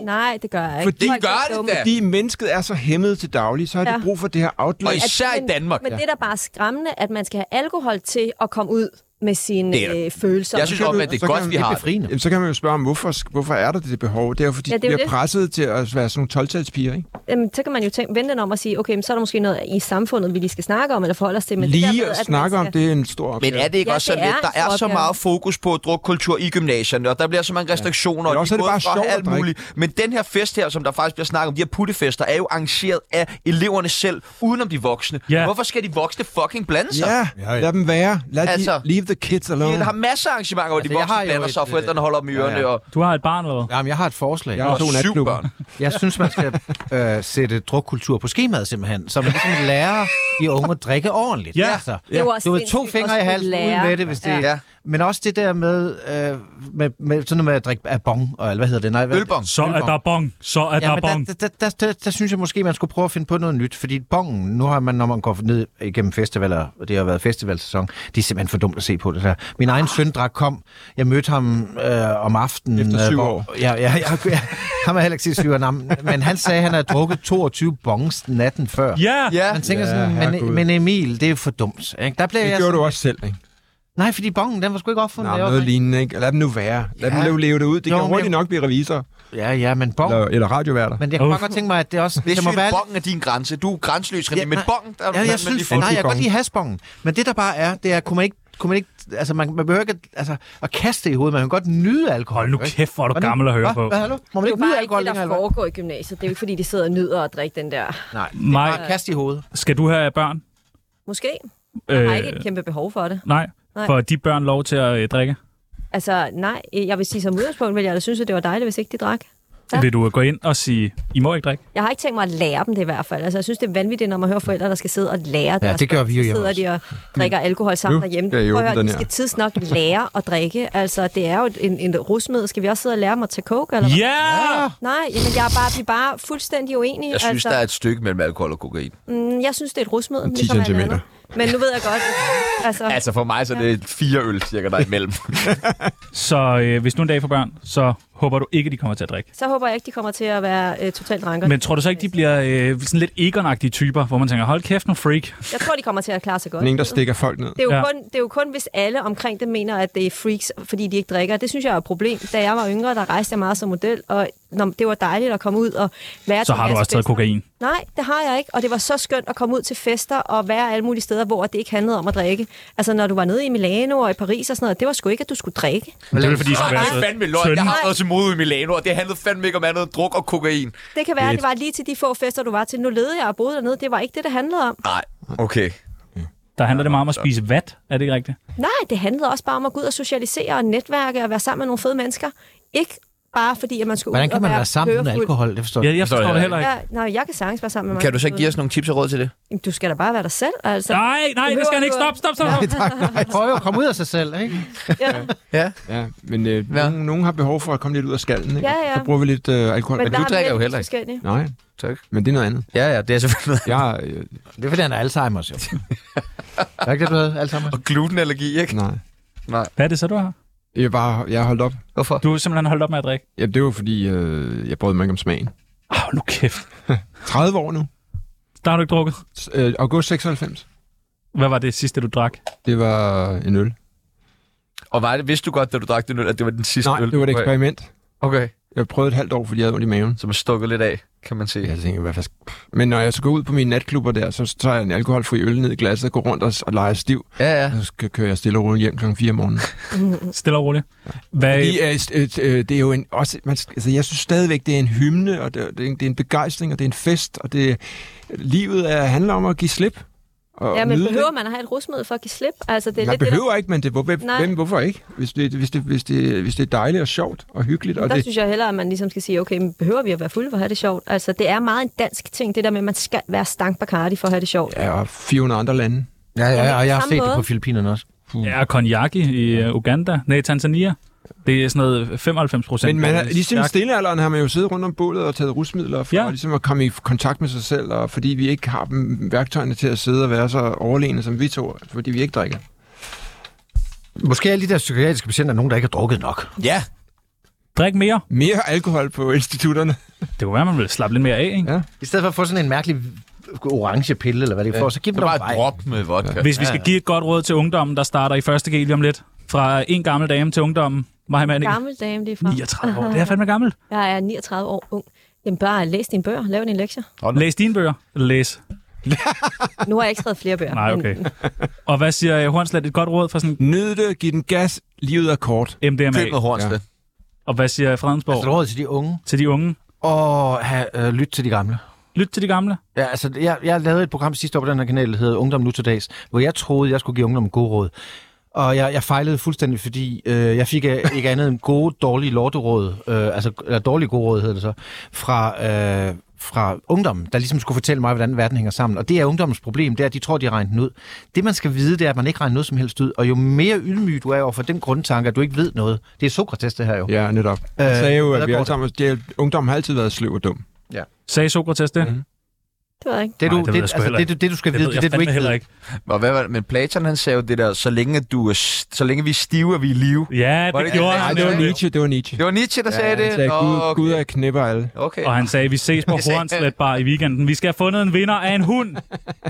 Nej, det gør jeg ikke. Fordi Folk er gør det dumme. da. Fordi mennesket er så hæmmet til daglig, så har ja. Ja. de brug for det her Og outlet. især i Men- Danmark. Men det er da bare skræmmende, at man skal have alkohol til at komme ud med sine Det er da- øh, følelser. Jeg synes om, at det er Så kan godt, man- vi Det er har det. befriende. Jamen, så kan man jo spørge om, hvorfor, hvorfor er der det behov? Det er jo, fordi Ja, ja, det det er er jo de bliver det. presset til at være sådan nogle 12-talspiger, ikke? Jamen, så kan man jo tænke, vente den om og sige, okay, men så er der måske noget i samfundet, vi lige skal snakke om, eller forholde os til. Men det der Lige med, at man snakke om, skal- det er en stor opgave. Men er det ikke Ja, også sådan det lidt, er der er en så opgave. meget fokus på drukkultur i gymnasierne, og der bliver så mange restriktioner, Men og også er det gået bare fra sjovt at alt drikke. muligt. Men den her fest her, som der faktisk bliver snakket om, de her puttefester, er jo arrangeret af eleverne selv, udenom de voksne. Ja. Hvorfor skal de voksne fucking blande sig? Ja, Ja, ja. lad dem være. Lad Altså, altså, de, leave the kids alone. De har masser af arrangementer, hvor altså, Altså, de jeg har voksne jo blander et, sig, og øh, forældrene holder om ørerne. ja. Og... Du har et barn, eller hvad? Jamen, jeg har et forslag. Jeg har to syv natklubber. børn. Jeg synes, man skal øh, sætte drukkultur på skemaet simpelthen, så man ligesom lærer de unge at drikke ordentligt. Ja. Altså, Det er jo også du har to sindssygt fingre i at skulle halsen lære. ud med det, hvis det Ja. Ja. Men også det der med, øh, med, med sådan noget med at drikke af bong, og, hvad hedder det? Nej, hvad, Ølbong. Så er der bong. Så er der men bong. Der, der, der, der, der, synes jeg måske, man skulle prøve at finde på noget nyt, fordi bongen, nu har man, når man går ned igennem festivaler, og det har været festivalsæson, det er simpelthen for dumt at se på det der. Min egen søn drak kom, jeg mødte ham øh, om aftenen. Efter syv hvor- år. Ja, ja, ja, ja ham er heller ikke sige syv år, gammel, men han sagde, at han havde drukket 22 bongs natten før. Ja! Ja. Man tænker Ja, sådan, herregud. men, men Emil, det er jo for dumt. Ikke? Der blev Det jeg gjorde sådan, du også selv, ikke? Nej, fordi bongen, den var sgu ikke opfundet. Nå, da jeg var noget dreng. lignende, ikke? Lad dem nu være. Lad Ja. dem nu leve det ud. Det Jo, kan men hurtigt jeg- nok blive revisor Ja, ja, men bong. eller, eller radioværter. Men jeg kan bare godt tænke mig, at det også... Det er der må sygt, være bongen er din grænse. Du er grænseløs, René, men nej. bongen... Der, Ja, man- man jeg lige synes, får- nej, jeg kan godt bongen. lide hasbongen. Men det, der bare er, det er, kunne man ikke... Kunne man ikke altså, man, man behøver ikke at- altså, at kaste det i hovedet. Man kan godt nyde alkohol. Hold nu ikke? kæft, hvor er du Hvordan- gammel at høre Hva? på. Hvad, hallo? Må man Det er ikke jo nyde bare ikke alkohol det, der længere, eller foregår i gymnasiet. Det er jo ikke, fordi de sidder og nyder at drikke den der. hvad? Nej, Maj, bare kaste i hovedet. skal du have børn? Måske. Jeg Øh. har ikke et kæmpe behov for det. nej. Nej. For de børn lov til at øh, drikke? Altså, nej. øh, Jeg vil sige, som udgangspunkt ville jeg da synes, at det var dejligt, hvis ikke de drak. Ja. Vil du øh, gå ind og sige, I må ikke drikke? Jeg har ikke tænkt mig at lære dem det i hvert fald. Altså, jeg synes, det er vanvittigt, når man hører forældre, der skal sidde og lære Ja, deres det gør børn. vi jo Så hjemme sidder de og drikker alkohol sammen Nu derhjemme. skal jeg Prøv at åbne høre, den de her. skal tidsnok lære at drikke. Altså, det er jo en, en rusmiddel. Skal vi også sidde og lære dem at tage coke? Eller hvad? Ja! Yeah! Nej, jamen, jeg er bare, vi er bare fuldstændig uenige. Jeg synes, altså, der er et stykke mellem alkohol og kokain. mm, jeg synes, det er et rusmiddel. 10 ligesom alt centimeter. andet. Men nu ved jeg godt, altså, altså Altså for mig så er det fire øl cirka der er imellem. Så øh, hvis du en dag får børn, så håber du ikke, de kommer til at drikke. så håber jeg ikke, de kommer til at være øh, totalt ranker. Men tror du så ikke, de bliver øh, sådan lidt egon typer, hvor man tænker, hold kæft, nu freak. Jeg tror, de kommer til at klare sig godt. En, der stikker folk ned. Det er, jo Ja. ja. kun, det er jo kun, hvis alle omkring dem mener, at det er freaks, fordi de ikke drikker. Det synes jeg er et problem. Da jeg var yngre, der rejste jeg meget som model, og når, det var dejligt at komme ud og Så være til har du masse også taget fester. kokain. Nej, det har jeg ikke, og det var så skønt at komme ud til fester og være alle mulige steder, hvor det ikke handlede om at drikke. Altså, når du var nede i Milano og i Paris og sådan noget, det var sgu ikke, at du skulle drikke. Men det er vel, fordi, så det er fandme løgn. Jeg har været til mode i Milano, og det handlede fandme ikke om andet end druk og kokain. Det kan være, at det var lige til de få fester, du var til. Nu levede jeg og boede dernede. Det var ikke det, det handlede om. Nej, okay. Der handler det meget om at spise vat, er det ikke rigtigt? Nej, det handlede også bare om at gå ud og socialisere og netværke og være sammen med nogle fede mennesker. Ikke bare fordi, at man skulle Hvordan ud kan og man være være sammen uden hørefuld. alkohol? Det forstår jeg. Ja, jeg forstår det heller ikke. Ja, nej, jeg kan sagtens være sammen med mig. Kan du så ikke give os nogle tips og råd til det? Jamen, Du skal da bare være dig selv, altså. Nej, nej, det skal han ikke. Stop, stop, stop. Jeg prøver at komme ud af sig selv, ikke? Ja. Ja, men øh, Ja. nogen, nogen har behov for at komme lidt ud af skallen, ikke? Ja, ja. Så bruger vi lidt øh, alkohol. Men Men der du har vi drikker jo lidt heller ikke. forskellige. Nej, Tak. men det er noget andet. Ja, ja, det er selvfølgelig. Jeg, øh, Det er fordi, han er Alzheimer's, jo. Er det ikke det, du havde? Alzheimer's? Og glutenallergi, ikke? nej. Hvad er det så, du har? Jeg, er bare, jeg har holdt op. Hvorfor? Du er simpelthen holdt op med at drikke. Ja, det var fordi, øh, jeg brød mig ikke om smagen. Åh, nu kæft. 30 år nu. Der har du ikke drukket. S- øh, august 96. Hvad var det sidste, du drak? Det var en øl. Og var det, vidste du godt, da du drak den øl, at det var den sidste Nej, øl? det var et du drak? eksperiment. Okay, Jeg prøvede et halvt år, fordi jeg havde ondt i maven. så man stukket lidt af, kan man sige. Jeg tænkte, hvad fanden- pff. Men når jeg så går ud på mine natklubber der, så tager jeg en alkoholfri øl ned i glasset, går rundt og, og leger stiv. Ja, ja. Og så k- kører jeg stille og roligt hjem kl. 4 om morgenen. Stille og roligt. Hvad, Fordi, øh, øh, øh, det er jo en, også, man, skal- altså, jeg synes stadigvæk, det er en hymne, og det, er- det, er, en, det er en begejstring, og det er en fest, og det, livet er, handler om at give slip. Og Ja, men nyde det. behøver man at have et rusmiddel for at give slip? Altså, det er Man lidt det, der, behøver ikke, men det, hvor, hvem, Nej. hvem, hvorfor ikke? Hvis det, hvis, det, hvis, det, hvis det er dejligt og sjovt og hyggeligt. Og der det, synes jeg hellere, at man ligesom skal sige, okay, men behøver vi at være fulde for at have det sjovt? Altså, det er meget en dansk ting, det der med, at man skal være stank Bacardi for at have det sjovt. ja, og 400 andre lande. Ja, ja, ja, og jeg har Samme set det måde. på Filippinerne også. Ja, konjaki i øh, Uganda. Nej, Tanzania. Det er sådan noget 95 procent. Men man har, ligesom i stillealderen har man jo siddet rundt om bålet og taget rusmidler for Ja. ja. ligesom at komme i kontakt med sig selv, og fordi vi ikke har dem, værktøjerne til at sidde og være så overlegne som vi to, fordi vi ikke drikker. Måske alle de der psykiatriske patienter er nogen, der ikke har drukket nok. Ja, Drik mere. Mere alkohol på institutterne. Det kunne være, man ville slappe lidt mere af, ikke? Ja. I stedet for at få sådan en mærkelig orange pille, eller hvad det er, for, så giv dem det var dog et vej. drop med vodka. Hvis vi skal give et godt råd til ungdommen, der starter i første G lige om lidt. Fra en gammel dame til ungdommen. Maja Manning. Gammel dame lige fra. 39 år. Det er fandme gammel. Jeg er 39 år ung. Jamen bare læs dine bøger, lav dine lektier. Læs dine bøger. Læs. Nu har jeg ikke skrevet flere bøger. Nej, okay. Og hvad siger øh, Hornslet? Et godt råd for sådan Nyd det, giv den gas, livet er kort. Køb MDMA. noget hornslet. Og hvad siger Altså, Fredensborg råd til de unge. til de unge? Og have, øh, lyt til de gamle. Lyt til de gamle. Ja, altså, jeg, jeg lavede et program sidste år på den her kanal, der hedder Ungdom Nu til Dags, hvor jeg troede, jeg skulle give ungdommen gode råd. Og jeg, jeg fejlede fuldstændig, fordi øh, jeg fik øh, ikke andet end gode, dårlige lorteråd, øh, altså eller dårlige gode råd hedder det så, fra, øh, fra ungdommen, der ligesom skulle fortælle mig, hvordan verden hænger sammen. Og det er ungdommens problem, det er, at de tror, de har regnet den ud. Det, man skal vide, det er, at man ikke regner noget som helst ud. Og jo mere ydmyg du er over for den grundtanke, at du ikke ved noget, det er Sokrates det her jo. Øh, Ja, netop. Jeg sagde jo, hvad at vi går alle der? sammen, det Øh, er, ungdommen har altid været sløv og dum. Sagde Sokrates Mm. det? Mhm. Det ved jeg ikke. Nej, Det, du, det ved det, jeg sgu altså, heller det, du- det, du skal Det vide, ved det er jeg det, du fandme ikke ved. heller ikke. Og hvad var det? Men Platon han sagde jo det der, så længe, at du er, st- så længe vi er stive, er vi i live. Ja, Var det det ikke- gjorde Nej, han. det var jo. Nietzsche, det var Nietzsche. Det var Nietzsche, der Ja, sagde han det. sagde, Gud, Nå, Gud er knipper alle. okay. Og han sagde, vi ses på Det sagde han. Hornslet Bar i weekenden. Vi skal have fundet en vinder af en hund.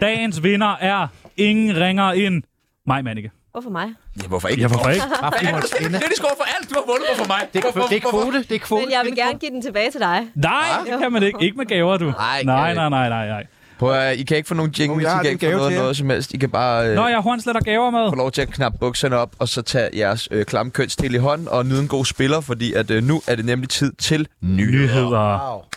Dagens vinder er ingen ringer ind. Mig, Mannike. Hvorfor mig? Ja, hvorfor ikke? Ja, hvorfor ikke? Er du simpelthen kritisk over for alt? Du har vundet mig for mig. Det er, det er kvote, det er kvote. Men jeg vil gerne give den tilbage til dig. Nej, det kan man ikke. Ikke med gaver, du. Nej, nej, kan nej, nej, nej, nej. Prøv at, høre, I kan ikke få nogen jingles, Jo, jeg I har kan den ikke få gave noget, til jer. noget som helst. I kan bare øh, Nå, jeg har Hornslet og gaver med. få lov til at knappe bukserne op, og så tage jeres øh, klamme kønsdel i hånden og nyde en god spiller, fordi at, øh, nu er det nemlig tid til nyheder. Nyheder. Wow.